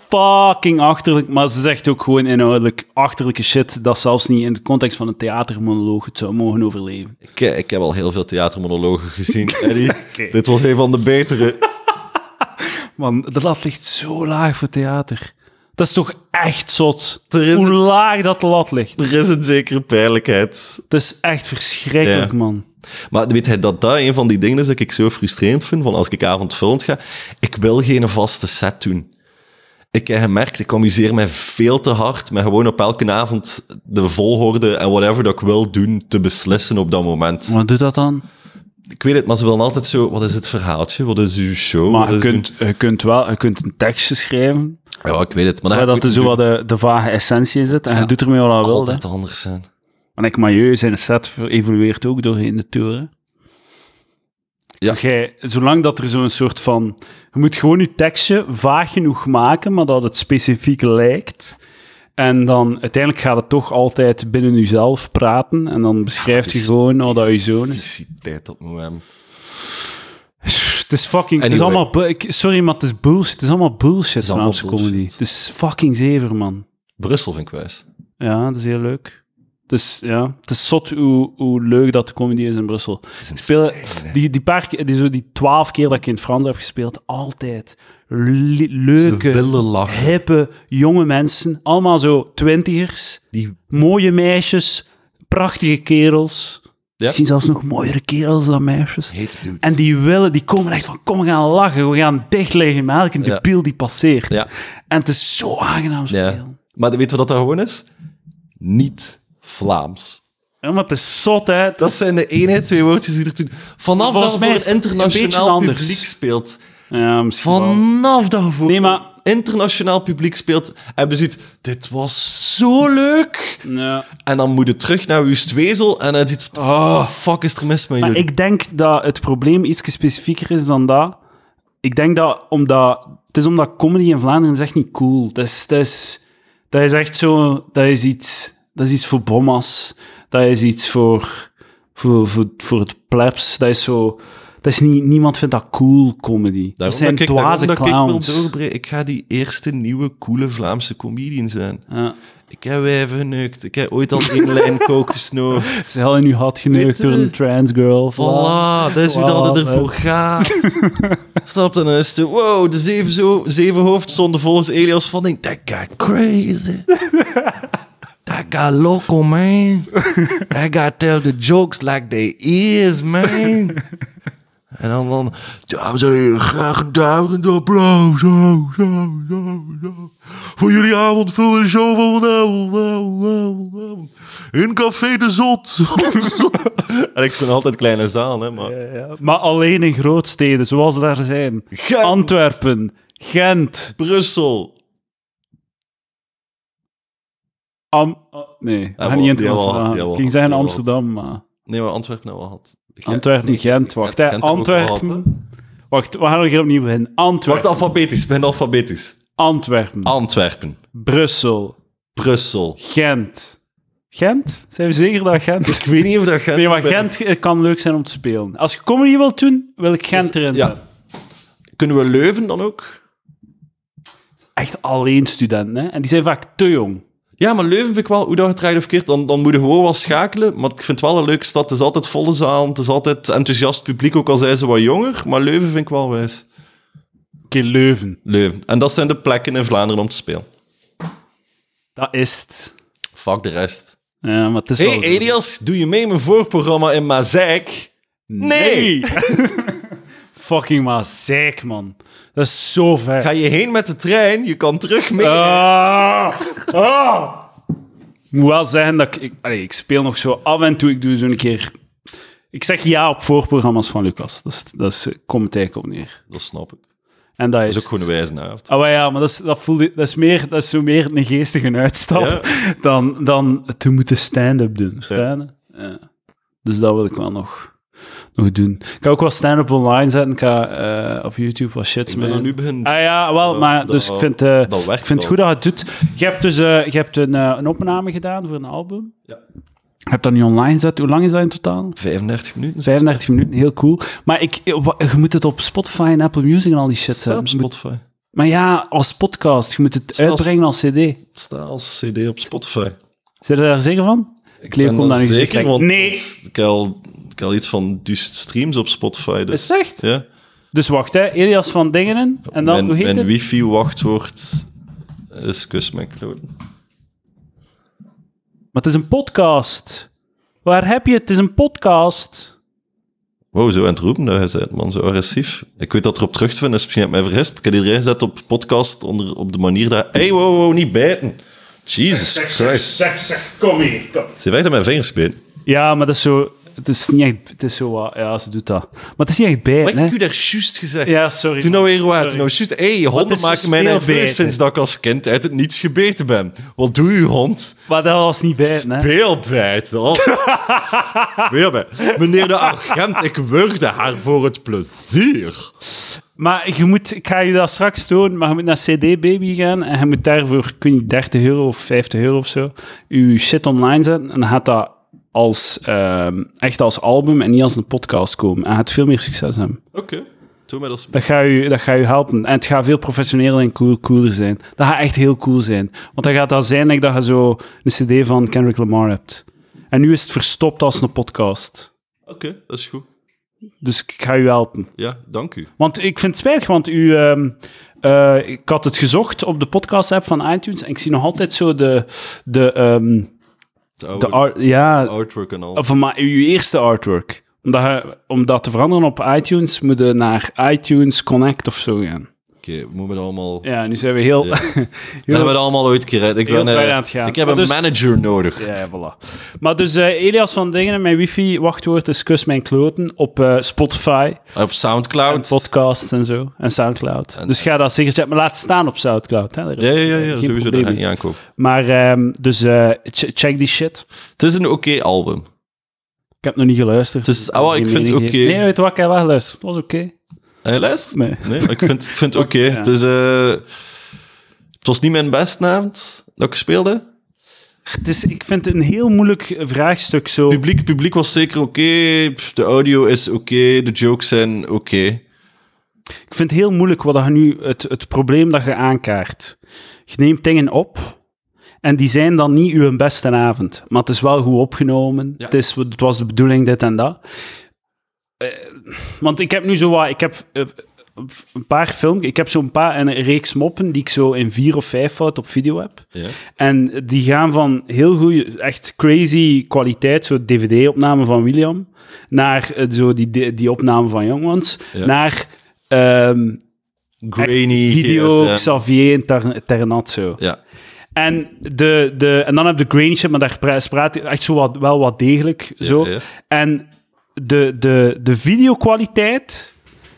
A: fucking achterlijk, maar ze zegt ook gewoon inhoudelijk achterlijke shit dat zelfs niet in de context van een theatermonoloog het zou mogen overleven.
B: Ik, eh, ik heb al heel veel theatermonologen gezien, Eddie. Dit was een van de betere.
A: Man, de lat ligt zo laag voor theater. Dat is toch echt zot?
B: Er is-
A: Hoe laag dat de lat ligt.
B: Er is een zekere pijnlijkheid
A: Dat is echt verschrikkelijk,
B: Ja.
A: man.
B: Maar weet hij dat dat een van die dingen is dat ik zo frustrerend vind? Van als ik avondvullend ga, ik wil geen vaste set doen. Ik heb gemerkt, ik amuseer mij veel te hard met gewoon op elke avond de volgorde en whatever dat ik wil doen te beslissen op dat moment.
A: Wat doet dat dan?
B: Ik weet het, maar ze willen altijd zo, wat is het verhaaltje? Wat is uw show?
A: Maar
B: Wat
A: je
B: is
A: kunt, je kunt wel je kunt een tekstje schrijven,
B: uw- Ja, ik weet het. Maar
A: waar
B: dan ga
A: dat
B: ik
A: er zo
B: doen.
A: wat de, de vage essentie in zit. En je doet ermee wat je wil. hè.
B: altijd anders zijn.
A: Maar ik Majeu, zijn set evolueert ook doorheen de toeren.
B: Ja.
A: Jij, zolang dat er zo'n soort van... Je moet gewoon je tekstje vaag genoeg maken, maar dat het specifiek lijkt. En dan uiteindelijk gaat het toch altijd binnen jezelf praten. En dan beschrijft je gewoon al dat je zoon is.
B: Fysiekheid op het moment.
A: Het is fucking... Het is
B: Anyway.
A: allemaal... bu- ik- Sorry, maar het is bullshit. Het is allemaal bullshit, het
B: allemaal
A: Vlaamse comedy.
B: bullshit.
A: Het is fucking zever, man.
B: Brussel vind ik wijs.
A: Ja, dat is heel leuk. Dus ja, het is zot hoe, hoe leuk dat de comedy is in Brussel. Ik speel, die, die, paar, keer- die, zo die twaalf keer dat ik in het Frans heb gespeeld, altijd le- leuke,
B: willen lachen.
A: hippe, jonge mensen. Allemaal zo twintigers,
B: Die,
A: mooie meisjes, prachtige kerels.
B: Ja.
A: Misschien zelfs nog mooiere kerels dan meisjes.
B: Heet dudes.
A: En die willen, die komen echt van, kom, we gaan lachen, we gaan dicht liggen met elke debiel die passeert.
B: Ja.
A: En het is zo aangenaam spelen.
B: ja. Maar weet je wat dat gewoon is? Niet Vlaams.
A: Ja, maar het is zot, hè.
B: Dat zijn de ene, twee woordjes die er toen... Vanaf
A: Volgens
B: dat je
A: mij
B: voor
A: is
B: een
A: het een beetje
B: internationaal
A: anders.
B: publiek speelt.
A: Ja, misschien wel.
B: Vanaf dat je voor
A: Nee, maar...
B: een internationaal publiek speelt, heb je zoiets... Dit was zo leuk!
A: Ja.
B: En dan moet je terug naar uw stwezel en dan ziet... Oh, fuck is er mis met
A: Maar
B: jullie?
A: Ah, ik denk dat het probleem iets specifieker is dan dat. Ik denk dat omdat... Het is omdat comedy in Vlaanderen is echt niet cool. Dat is, dat is, dat is echt zo... Dat is iets, dat is iets voor bommas. Dat is iets voor, voor, voor, voor het plebs. Dat is zo... Dat is niet, niemand vindt dat cool, comedy. dat zijn
B: ik, daarom
A: dwaze
B: dat ik wil
A: clowns.
B: doorbreken. Ik ga die eerste nieuwe, coole Vlaamse comedian zijn.
A: ja.
B: Ik heb wijven geneukt. Ik heb ooit al één lijn kook gesnoven.
A: Ze hadden nu had
B: Weet
A: geneukt
B: je?
A: door een trans girl.
B: Voilà, dat is hoe dat het
A: Voilà,
B: ervoor gaat. Snap je? Dan is het, wow, de zeven, zo, zeven hoofd stonden volgens Elias van Ding. Dat gaat crazy. Dat gaat loco, man. I got tell the jokes like they is, man. En dan dan, dames en heren, graag een duizend applaus. Zo, zo, zo, zo. Voor jullie avondvullende show van vanavond. Avond, avond, avond. In Café de Zot. en ik vind altijd kleine zaal, hè, maar...
A: Maar alleen in grootsteden, zoals ze daar zijn.
B: Gent.
A: Antwerpen, Gent,
B: Brussel.
A: Am... oh, nee, we
B: Ja,
A: gaan niet in het
B: die hebben we al,
A: Amsterdam.
B: die hebben we
A: Ik
B: al,
A: ging zeggen
B: die hebben we al.
A: Amsterdam, maar...
B: Nee, maar Antwerpen hebben we al gehad. Gent-
A: Antwerpen,
B: nee,
A: Gent, wacht. hè.
B: Gent hebben we ook al gehad, hè.
A: Antwerpen... Wacht, we gaan er hier opnieuw in.
B: Wacht,
A: Antwerpen,
B: alfabetisch. Ik ben alfabetisch.
A: Antwerpen,
B: Antwerpen.
A: Brussel,
B: Brussel.
A: Gent. Gent? Zijn we zeker dat Gent...
B: Ik weet niet of dat Gent...
A: Nee, maar Gent eh, kan leuk zijn om te spelen. Als je comedy wilt doen, wil ik Gent erin hebben.
B: Ja. Kunnen we Leuven dan ook?
A: Echt alleen studenten, hè. En die zijn vaak te jong.
B: Ja, maar Leuven vind ik wel, hoe dat je het draait of keert, dan, dan moet je gewoon wel schakelen. Maar ik vind het wel een leuke stad. Het is altijd volle zaal, het is altijd enthousiast publiek, ook al zijn ze wat jonger. Maar Leuven vind ik wel wijs.
A: Oké, Leuven.
B: Leuven. En dat zijn de plekken in Vlaanderen om te spelen.
A: Dat is het.
B: Fuck de rest.
A: Ja, maar het is
B: Hé,
A: wel
B: hey,
A: zo.
B: Elias, doe je mee in mijn voorprogramma in Mazijk? Nee!
A: Fucking maar zeik, man. Dat is zo ver.
B: Ga je heen met de trein? Je kan terug mee.
A: Ah! Ah! Ik moet wel zeggen dat ik... Ik, allee, ik speel nog zo af en toe. Ik doe zo'n keer... Ik zeg ja op voorprogramma's van Lucas. Dat, is, dat is, eh, komt het eigenlijk op neer.
B: Dat snap ik.
A: En dat is...
B: Dat is ook gewoon een wijze avond.
A: Ah, maar ja, maar dat is, dat, voelde, dat, is meer, dat is zo meer een geestige uitstap dan, dan te moeten stand-up doen. Verstaan je? Ja. Dus dat wil ik wel nog, nog doen. Ik ga ook wel stand-up online zetten. Ik ga eh, op YouTube wat shit
B: Ik ben dan nu begin.
A: Ah ja, wel,
B: Eh,
A: maar
B: dat-
A: dus ik vind, eh,
B: dat werkt
A: ik vind het
B: wel.
A: goed dat je het doet. Je hebt dus eh, je hebt een, eh, een opname gedaan voor een album.
B: Ja.
A: Je hebt dat nu online gezet. Hoe lang is dat in totaal?
B: 35 minuten.
A: 35 minuten, heel cool. Maar ik, je moet het op Spotify en Apple Music en al die shit
B: Staat
A: zetten. Dus
B: op Spotify.
A: Maar ja, als podcast. Je moet het
B: als-
A: uitbrengen als CD.
B: Het staat als CD op Spotify.
A: Zijn je daar zeker van? Cleo
B: En
A: komt
B: dat
A: daar nu
B: zeker,
A: gezegd.
B: want
A: Nee!
B: ik heb, al, ik heb al iets van duizend streams op Spotify. Dus,
A: Is het echt?
B: Ja.
A: Dus wacht, hè. Elias van Dingenen. En dan,
B: mijn
A: hoe heet
B: mijn
A: het?
B: wifi-wachtwoord is kus mijn kloten.
A: Maar het is een podcast. Waar heb je het? Het is een podcast.
B: Wow, zo aan het roepen dat je bent, man. Zo agressief. Ik weet dat erop terug te vinden is. Misschien heb ik mij vergist. Ik heb iedereen gezet op podcast onder, op de manier dat... Hey, wow, wow, niet bijten. Jesus Christ.
A: Zeg, zeg, kom hier.
B: Ze wijden mijn vingers spelen.
A: Ja, maar dat is zo... Het is niet echt... Het is zo wat... Ja, ze doet dat. Maar het is niet echt
B: Wat
A: bijten,
B: heb ik
A: hè.
B: u daar juist gezegd?
A: Ja, sorry.
B: Toen nou weer wat?
A: Sorry.
B: Toen nou juist... Hé, hey,
A: Wat
B: honden
A: is een
B: maken mij nerveus
A: speelbijten?
B: sinds dat ik als kind uit het niets gebeten ben. Wat doe je, hond?
A: Maar dat was niet bijten, hè.
B: Speelbijt, hoor. Speelbijt. Meneer de agent, ik wurgde haar voor het plezier.
A: Maar je moet... Ik ga je dat straks doen, maar je moet naar CD Baby gaan en je moet daarvoor, ik weet niet, 30 euro of 50 euro of zo, je shit online zetten. En dan gaat dat als, ehm, echt als album en niet als een podcast komen. En gaat veel meer succes hebben.
B: Oké. Doe mij dat
A: Dat gaat, u, dat gaat u helpen. En het gaat veel professioneler en cool, cooler zijn. Dat gaat echt heel cool zijn. Want dan gaat dat zijn like, dat je zo een cd van Kendrick Lamar hebt. En nu is het verstopt als een podcast.
B: Oké, dat is goed.
A: Dus ik ga u helpen.
B: Ja, dank u.
A: Want ik vind het spijtig, want u, ehm, eh, ik had het gezocht op de podcast-app van iTunes en ik zie nog altijd zo de, de, ehm,
B: Het oude
A: de ar- ja,
B: artwork en al.
A: van maar uw eerste artwork. Omdat je- om dat te veranderen op iTunes, moet je naar iTunes Connect of zo gaan.
B: Oké, we moeten het allemaal...
A: Ja, nu zijn we heel...
B: We hebben het allemaal uitgered. Ik,
A: Heel
B: ben, eh,
A: ver aan het gaan.
B: ik heb
A: Maar
B: een
A: dus-
B: manager nodig.
A: Ja, voilà. Maar dus eh, Elias van Dingen, mijn wifi-wachtwoord is kus mijn kloten op eh, Spotify,
B: Op Soundcloud.
A: podcasts en zo, en Soundcloud. dus ga dat zeker zetten, maar laat staan op Soundcloud. Hè. Daar-
B: eh, Ja, ja, ja,
A: geen
B: ja sowieso.
A: probleem
B: Dat ga
A: mee.
B: ik niet aankopen.
A: Maar ehm, dus eh, ch- check die shit.
B: Het is een oké album.
A: Ik heb nog niet geluisterd.
B: Het is-
A: kan
B: ah, wel,
A: geen
B: ik vind
A: mening
B: het
A: geven.
B: oké.
A: Nee, weet je wat, ik heb wel geluisterd. Het was oké.
B: Heb je luisterd?
A: Nee.
B: Nee, maar ik vind, ik vind het oké. Het is, eh, het was niet mijn beste avond dat ik speelde. Het
A: Het is, ik vind het een heel moeilijk vraagstuk zo.
B: publiek, het publiek was zeker oké. Pff, De audio is oké. De jokes zijn oké.
A: Ik vind het heel moeilijk wat je nu het, het probleem dat je aankaart. Je neemt dingen op en die zijn dan niet uw beste avond. Maar het is wel goed opgenomen. Het, is, het was de bedoeling dit en dat. Eh, want ik heb nu zo wat... Ik heb eh, een paar filmpjes... Ik heb zo'n paar... Een reeks moppen die ik zo in vier of vijf fout op video heb.
B: Ja.
A: En die gaan van heel goede, echt crazy kwaliteit, zo DVD-opname van William, naar eh, zo die, die opname van Young Ones,
B: Ja.
A: naar ehm, echt
B: Grainy.
A: video
B: GSM.
A: Xavier en Ter- Ternat zo.
B: Ja.
A: En, de, de, en dan heb je de grainy shit, maar daar pra- praat hij echt zo wat, wel wat degelijk. Zo.
B: ja.
A: En de, de, de videokwaliteit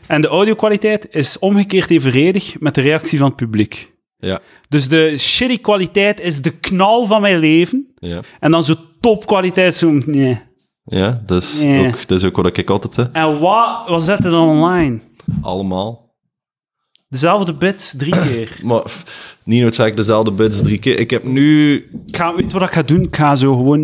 A: en de audiokwaliteit is omgekeerd evenredig met de reactie van het publiek.
B: Ja.
A: Dus de shitty kwaliteit is de knal van mijn leven.
B: Ja.
A: En dan zo topkwaliteit, zo... Nee.
B: Ja, dat is,
A: Ja.
B: Ook, dat is ook wat ik altijd... Hè.
A: En wat was dat dan online?
B: Allemaal.
A: Dezelfde bits drie keer.
B: Maar pff, niet noodzakelijk dezelfde bits drie keer. Ik heb nu...
A: Ik ga, weet je wat ik ga doen? Ik ga zo gewoon...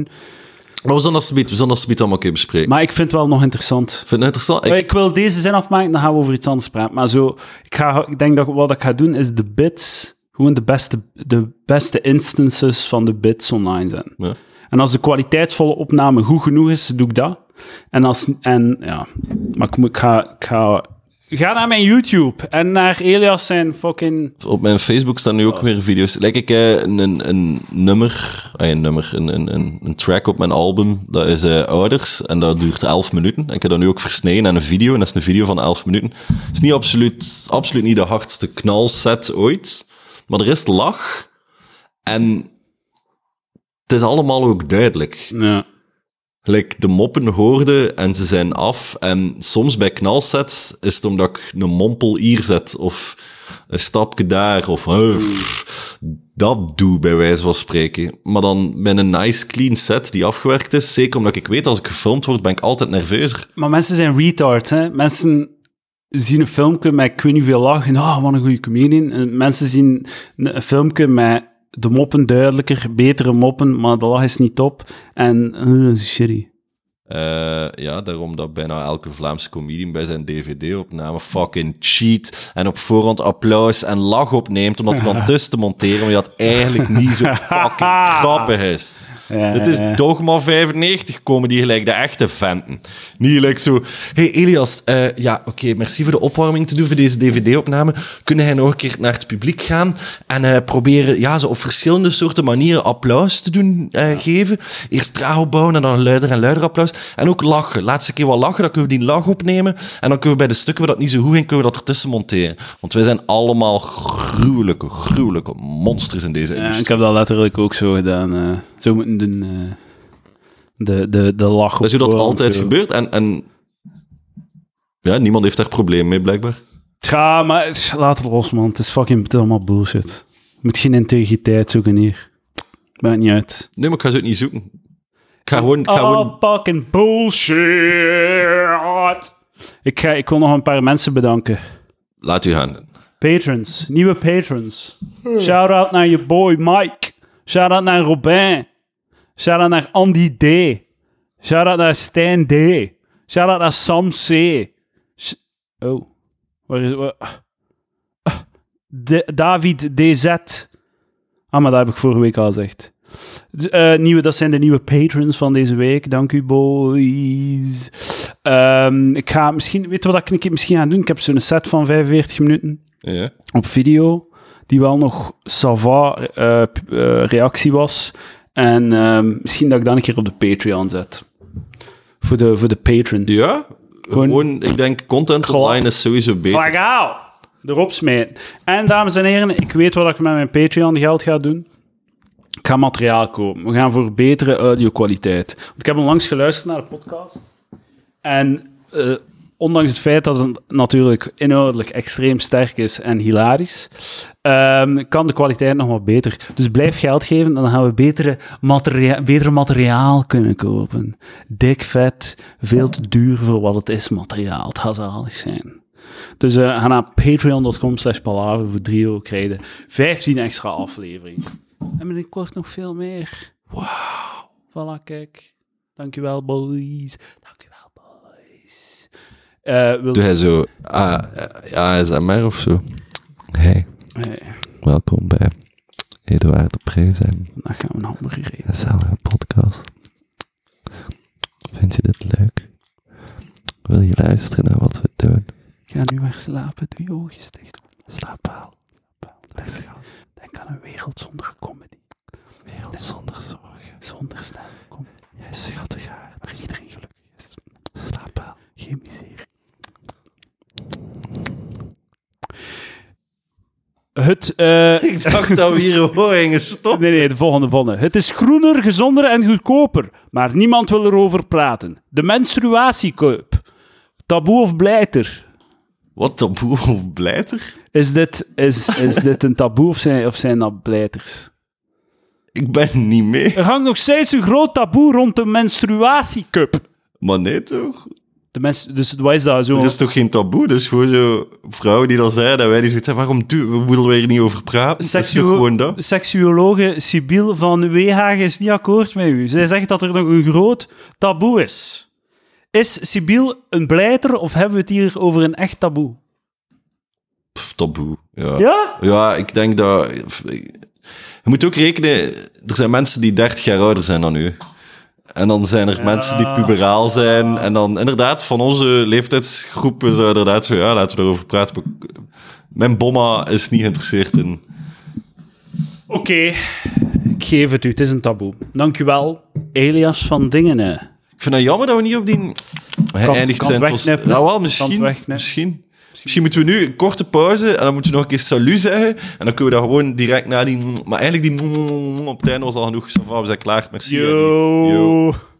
B: Maar we zullen dat alsjeblieft- we zullen dat alsjeblieft allemaal een keer bespreken.
A: Maar ik vind het wel nog interessant.
B: Ik vind het interessant.
A: Ik,
B: Ik,
A: wil deze zin afmaken, dan gaan we over iets anders praten. Maar zo, ik, ga, ik denk dat wat ik ga doen, is de bits... Gewoon de beste, de beste instances van de bits online zijn.
B: ja.
A: En als de kwaliteitsvolle opname goed genoeg is, doe ik dat. En als... En ja... Maar ik, moet- ik ga... Ik ga Ga naar mijn YouTube en naar Elias zijn fucking...
B: Op mijn Facebook staan nu ook weer video's. Lijk ik eh, een, een, een nummer, ah, een, nummer een, een, een, een track op mijn album, dat is eh, Ouders, en dat duurt 11 minuten. En ik heb dat nu ook versneden aan een video, en dat is een video van 11 minuten. Het is niet absoluut, absoluut niet de hardste knalset ooit, maar er is lach, en het is allemaal ook duidelijk.
A: Ja.
B: Like, de moppen hoorde en ze zijn af. En soms bij knalsets is het omdat ik een mompel hier zet of een stapje daar of eh, pff, dat doe bij wijze van spreken. Maar dan met een nice clean set die afgewerkt is, zeker omdat ik weet als ik gefilmd word, ben ik altijd nerveuzer.
A: Maar mensen zijn retards, hè. Mensen zien een filmpje met ik weet niet veel lachen. Oh, wat een goede comedian. En mensen zien een een filmpje met de moppen duidelijker, betere moppen, maar de lach is niet top. En eh, shitty.
B: Eh, ja, daarom dat bijna elke Vlaamse comedian bij zijn DVD-opname fucking cheat en op voorhand applaus en lach opneemt om dat er dan tussen te monteren, omdat dat eigenlijk niet zo fucking grappig is. Het is Dogma 95 komen die gelijk de echte venten. Niet gelijk zo... hey Elias, eh, ja, oké, merci voor de opwarming te doen voor deze dvd-opname. Kunnen hij nog een keer naar het publiek gaan en eh, proberen ja, ze op verschillende soorten manieren applaus te doen eh, geven? Eerst traag opbouwen en dan luider en luider applaus. En ook lachen. Laatste keer wat lachen, dan kunnen we die lach opnemen. En dan kunnen we bij de stukken waar dat niet zo goed ging, kunnen we dat ertussen monteren. Want wij zijn allemaal gruwelijke, gruwelijke monsters in deze
A: Ja,
B: industrie.
A: ik heb dat letterlijk ook zo gedaan. eh. zo moeten doen, eh, de, de, de lach op
B: Dat is hoe dat
A: voorhand,
B: altijd
A: zo.
B: gebeurt. En, en ja, niemand heeft daar problemen mee, blijkbaar.
A: Ja, maar tch, laat het los, man. Het is fucking het is allemaal bullshit. Je moet geen integriteit zoeken hier. Maakt niet uit.
B: Nee, maar ik ga ze ook niet zoeken. Ik ga gewoon... Ik ga gewoon
A: Oh, fucking bullshit. Ik, ga, ik wil nog een paar mensen bedanken.
B: laat u gaan.
A: Patrons, nieuwe patrons. Shout-out naar je boy Mike. Shout-out naar Robin. Shout-out naar Andy D. Shout-out naar Stijn D. Shout-out naar Sam C. Sh- oh, waar is... Waar? Ah, De, David DZ. Ah, maar dat heb ik vorige week al gezegd. Dus, eh, nieuwe, dat zijn de nieuwe patrons van deze week. Dank u, boys. Ehm, ik ga misschien... Weet je wat ik een keer misschien ga doen? Ik heb zo'n set van 45 minuten
B: Ja.
A: op video, die wel nog sava eh, reactie was. En ehm, misschien dat ik dan een keer op de Patreon zet. Voor de, voor de patrons.
B: ja? Gewoon, Oh ik denk, content
A: Gewoon-
B: online is sowieso beter.
A: Legaal! Erop smijten. En dames en heren, ik weet wat ik met mijn Patreon geld ga doen. Ik ga materiaal kopen. We gaan voor betere audio-kwaliteit. Want ik heb onlangs geluisterd naar de podcast. En eh, ondanks het feit dat het natuurlijk inhoudelijk extreem sterk is en hilarisch, ehm, kan de kwaliteit nog wat beter. Dus blijf geld geven en dan gaan we betere materia beter materiaal kunnen kopen. Dik vet, veel te duur voor wat het is materiaal. Het gaat zalig zijn. Dus eh, ga naar patreon.com slash palaver voor 3 euro krijg je 15 extra afleveringen. En binnenkort nog veel meer. Wauw. Voilà, kijk. Dankjewel, boys. Dankjewel, boys. Eh wil...
B: Doe hij zo ah, eh, A- ASMR of zo? Hey,
A: Eh,
B: welkom bij Eduard de Prees en
A: dan gaan we een hamburger eten.
B: gezellige podcast. Vind je dit leuk? Wil je luisteren naar wat we doen?
A: Ik ga nu maar slapen. Doe je oogjes dicht.
B: Slaap wel.
A: Denk aan een wereld zonder comedy.
B: Wereld zonder zorgen.
A: Zonder snel. Kom,
B: Jij schattig haar.
A: waar iedereen gelukkig is.
B: Slaap wel.
A: Geen miserie. Het... eh,
B: Ik dacht dat we hier gewoon gingen stoppen.
A: Nee, nee, de volgende, de volgende. Het is groener, gezonder en goedkoper, maar niemand wil erover praten. De menstruatiecup. Taboe of blijter?
B: Wat taboe of blijter?
A: Is dit, is, is dit een taboe of zijn, of zijn dat blijters?
B: Ik ben niet mee.
A: Er hangt nog steeds een groot taboe rond de menstruatiecup.
B: Maar nee toch?
A: De mens, dus wat is dat? Zo,
B: Er is toch geen taboe? Dus gewoon zo vrouwen die dat zeiden, dat wij die zoiets hebben. Waarom doen we moeten we hier niet over praten? Dat is toch
A: Seksuo-
B: gewoon dat?
A: Seksuologe Sibyl van Weehagen is niet akkoord met u. Zij zegt dat er nog een groot taboe is. Is Sibyl een blijter of hebben we het hier over een echt taboe?
B: Pff, taboe. Ja. ja?
A: Ja?
B: ik denk dat. Je moet ook rekenen, er zijn mensen die 30 jaar ouder zijn dan u. En dan zijn er mensen die puberaal zijn. En dan inderdaad, van onze leeftijdsgroepen zou inderdaad zo, ja, laten we erover praten. Maar Mijn bomma is niet geïnteresseerd in.
A: Oké, ik geef het u. Het is een taboe. Dankjewel, Elias van Dingene.
B: Ik vind het jammer dat we niet op die... Hij
A: Kant-
B: eindigt
A: kant
B: zijn...
A: wegknippen.
B: tot- Nou, wel,
A: Kant
B: misschien,
A: wegknippen.
B: misschien. Misschien moeten we nu een korte pauze en dan moeten we nog een keer salut zeggen. En dan kunnen we dat gewoon direct na die... Maar eigenlijk die... Op het einde was al genoeg. Ça va, We zijn klaar. Merci. Eddie. Yo.
A: Yo.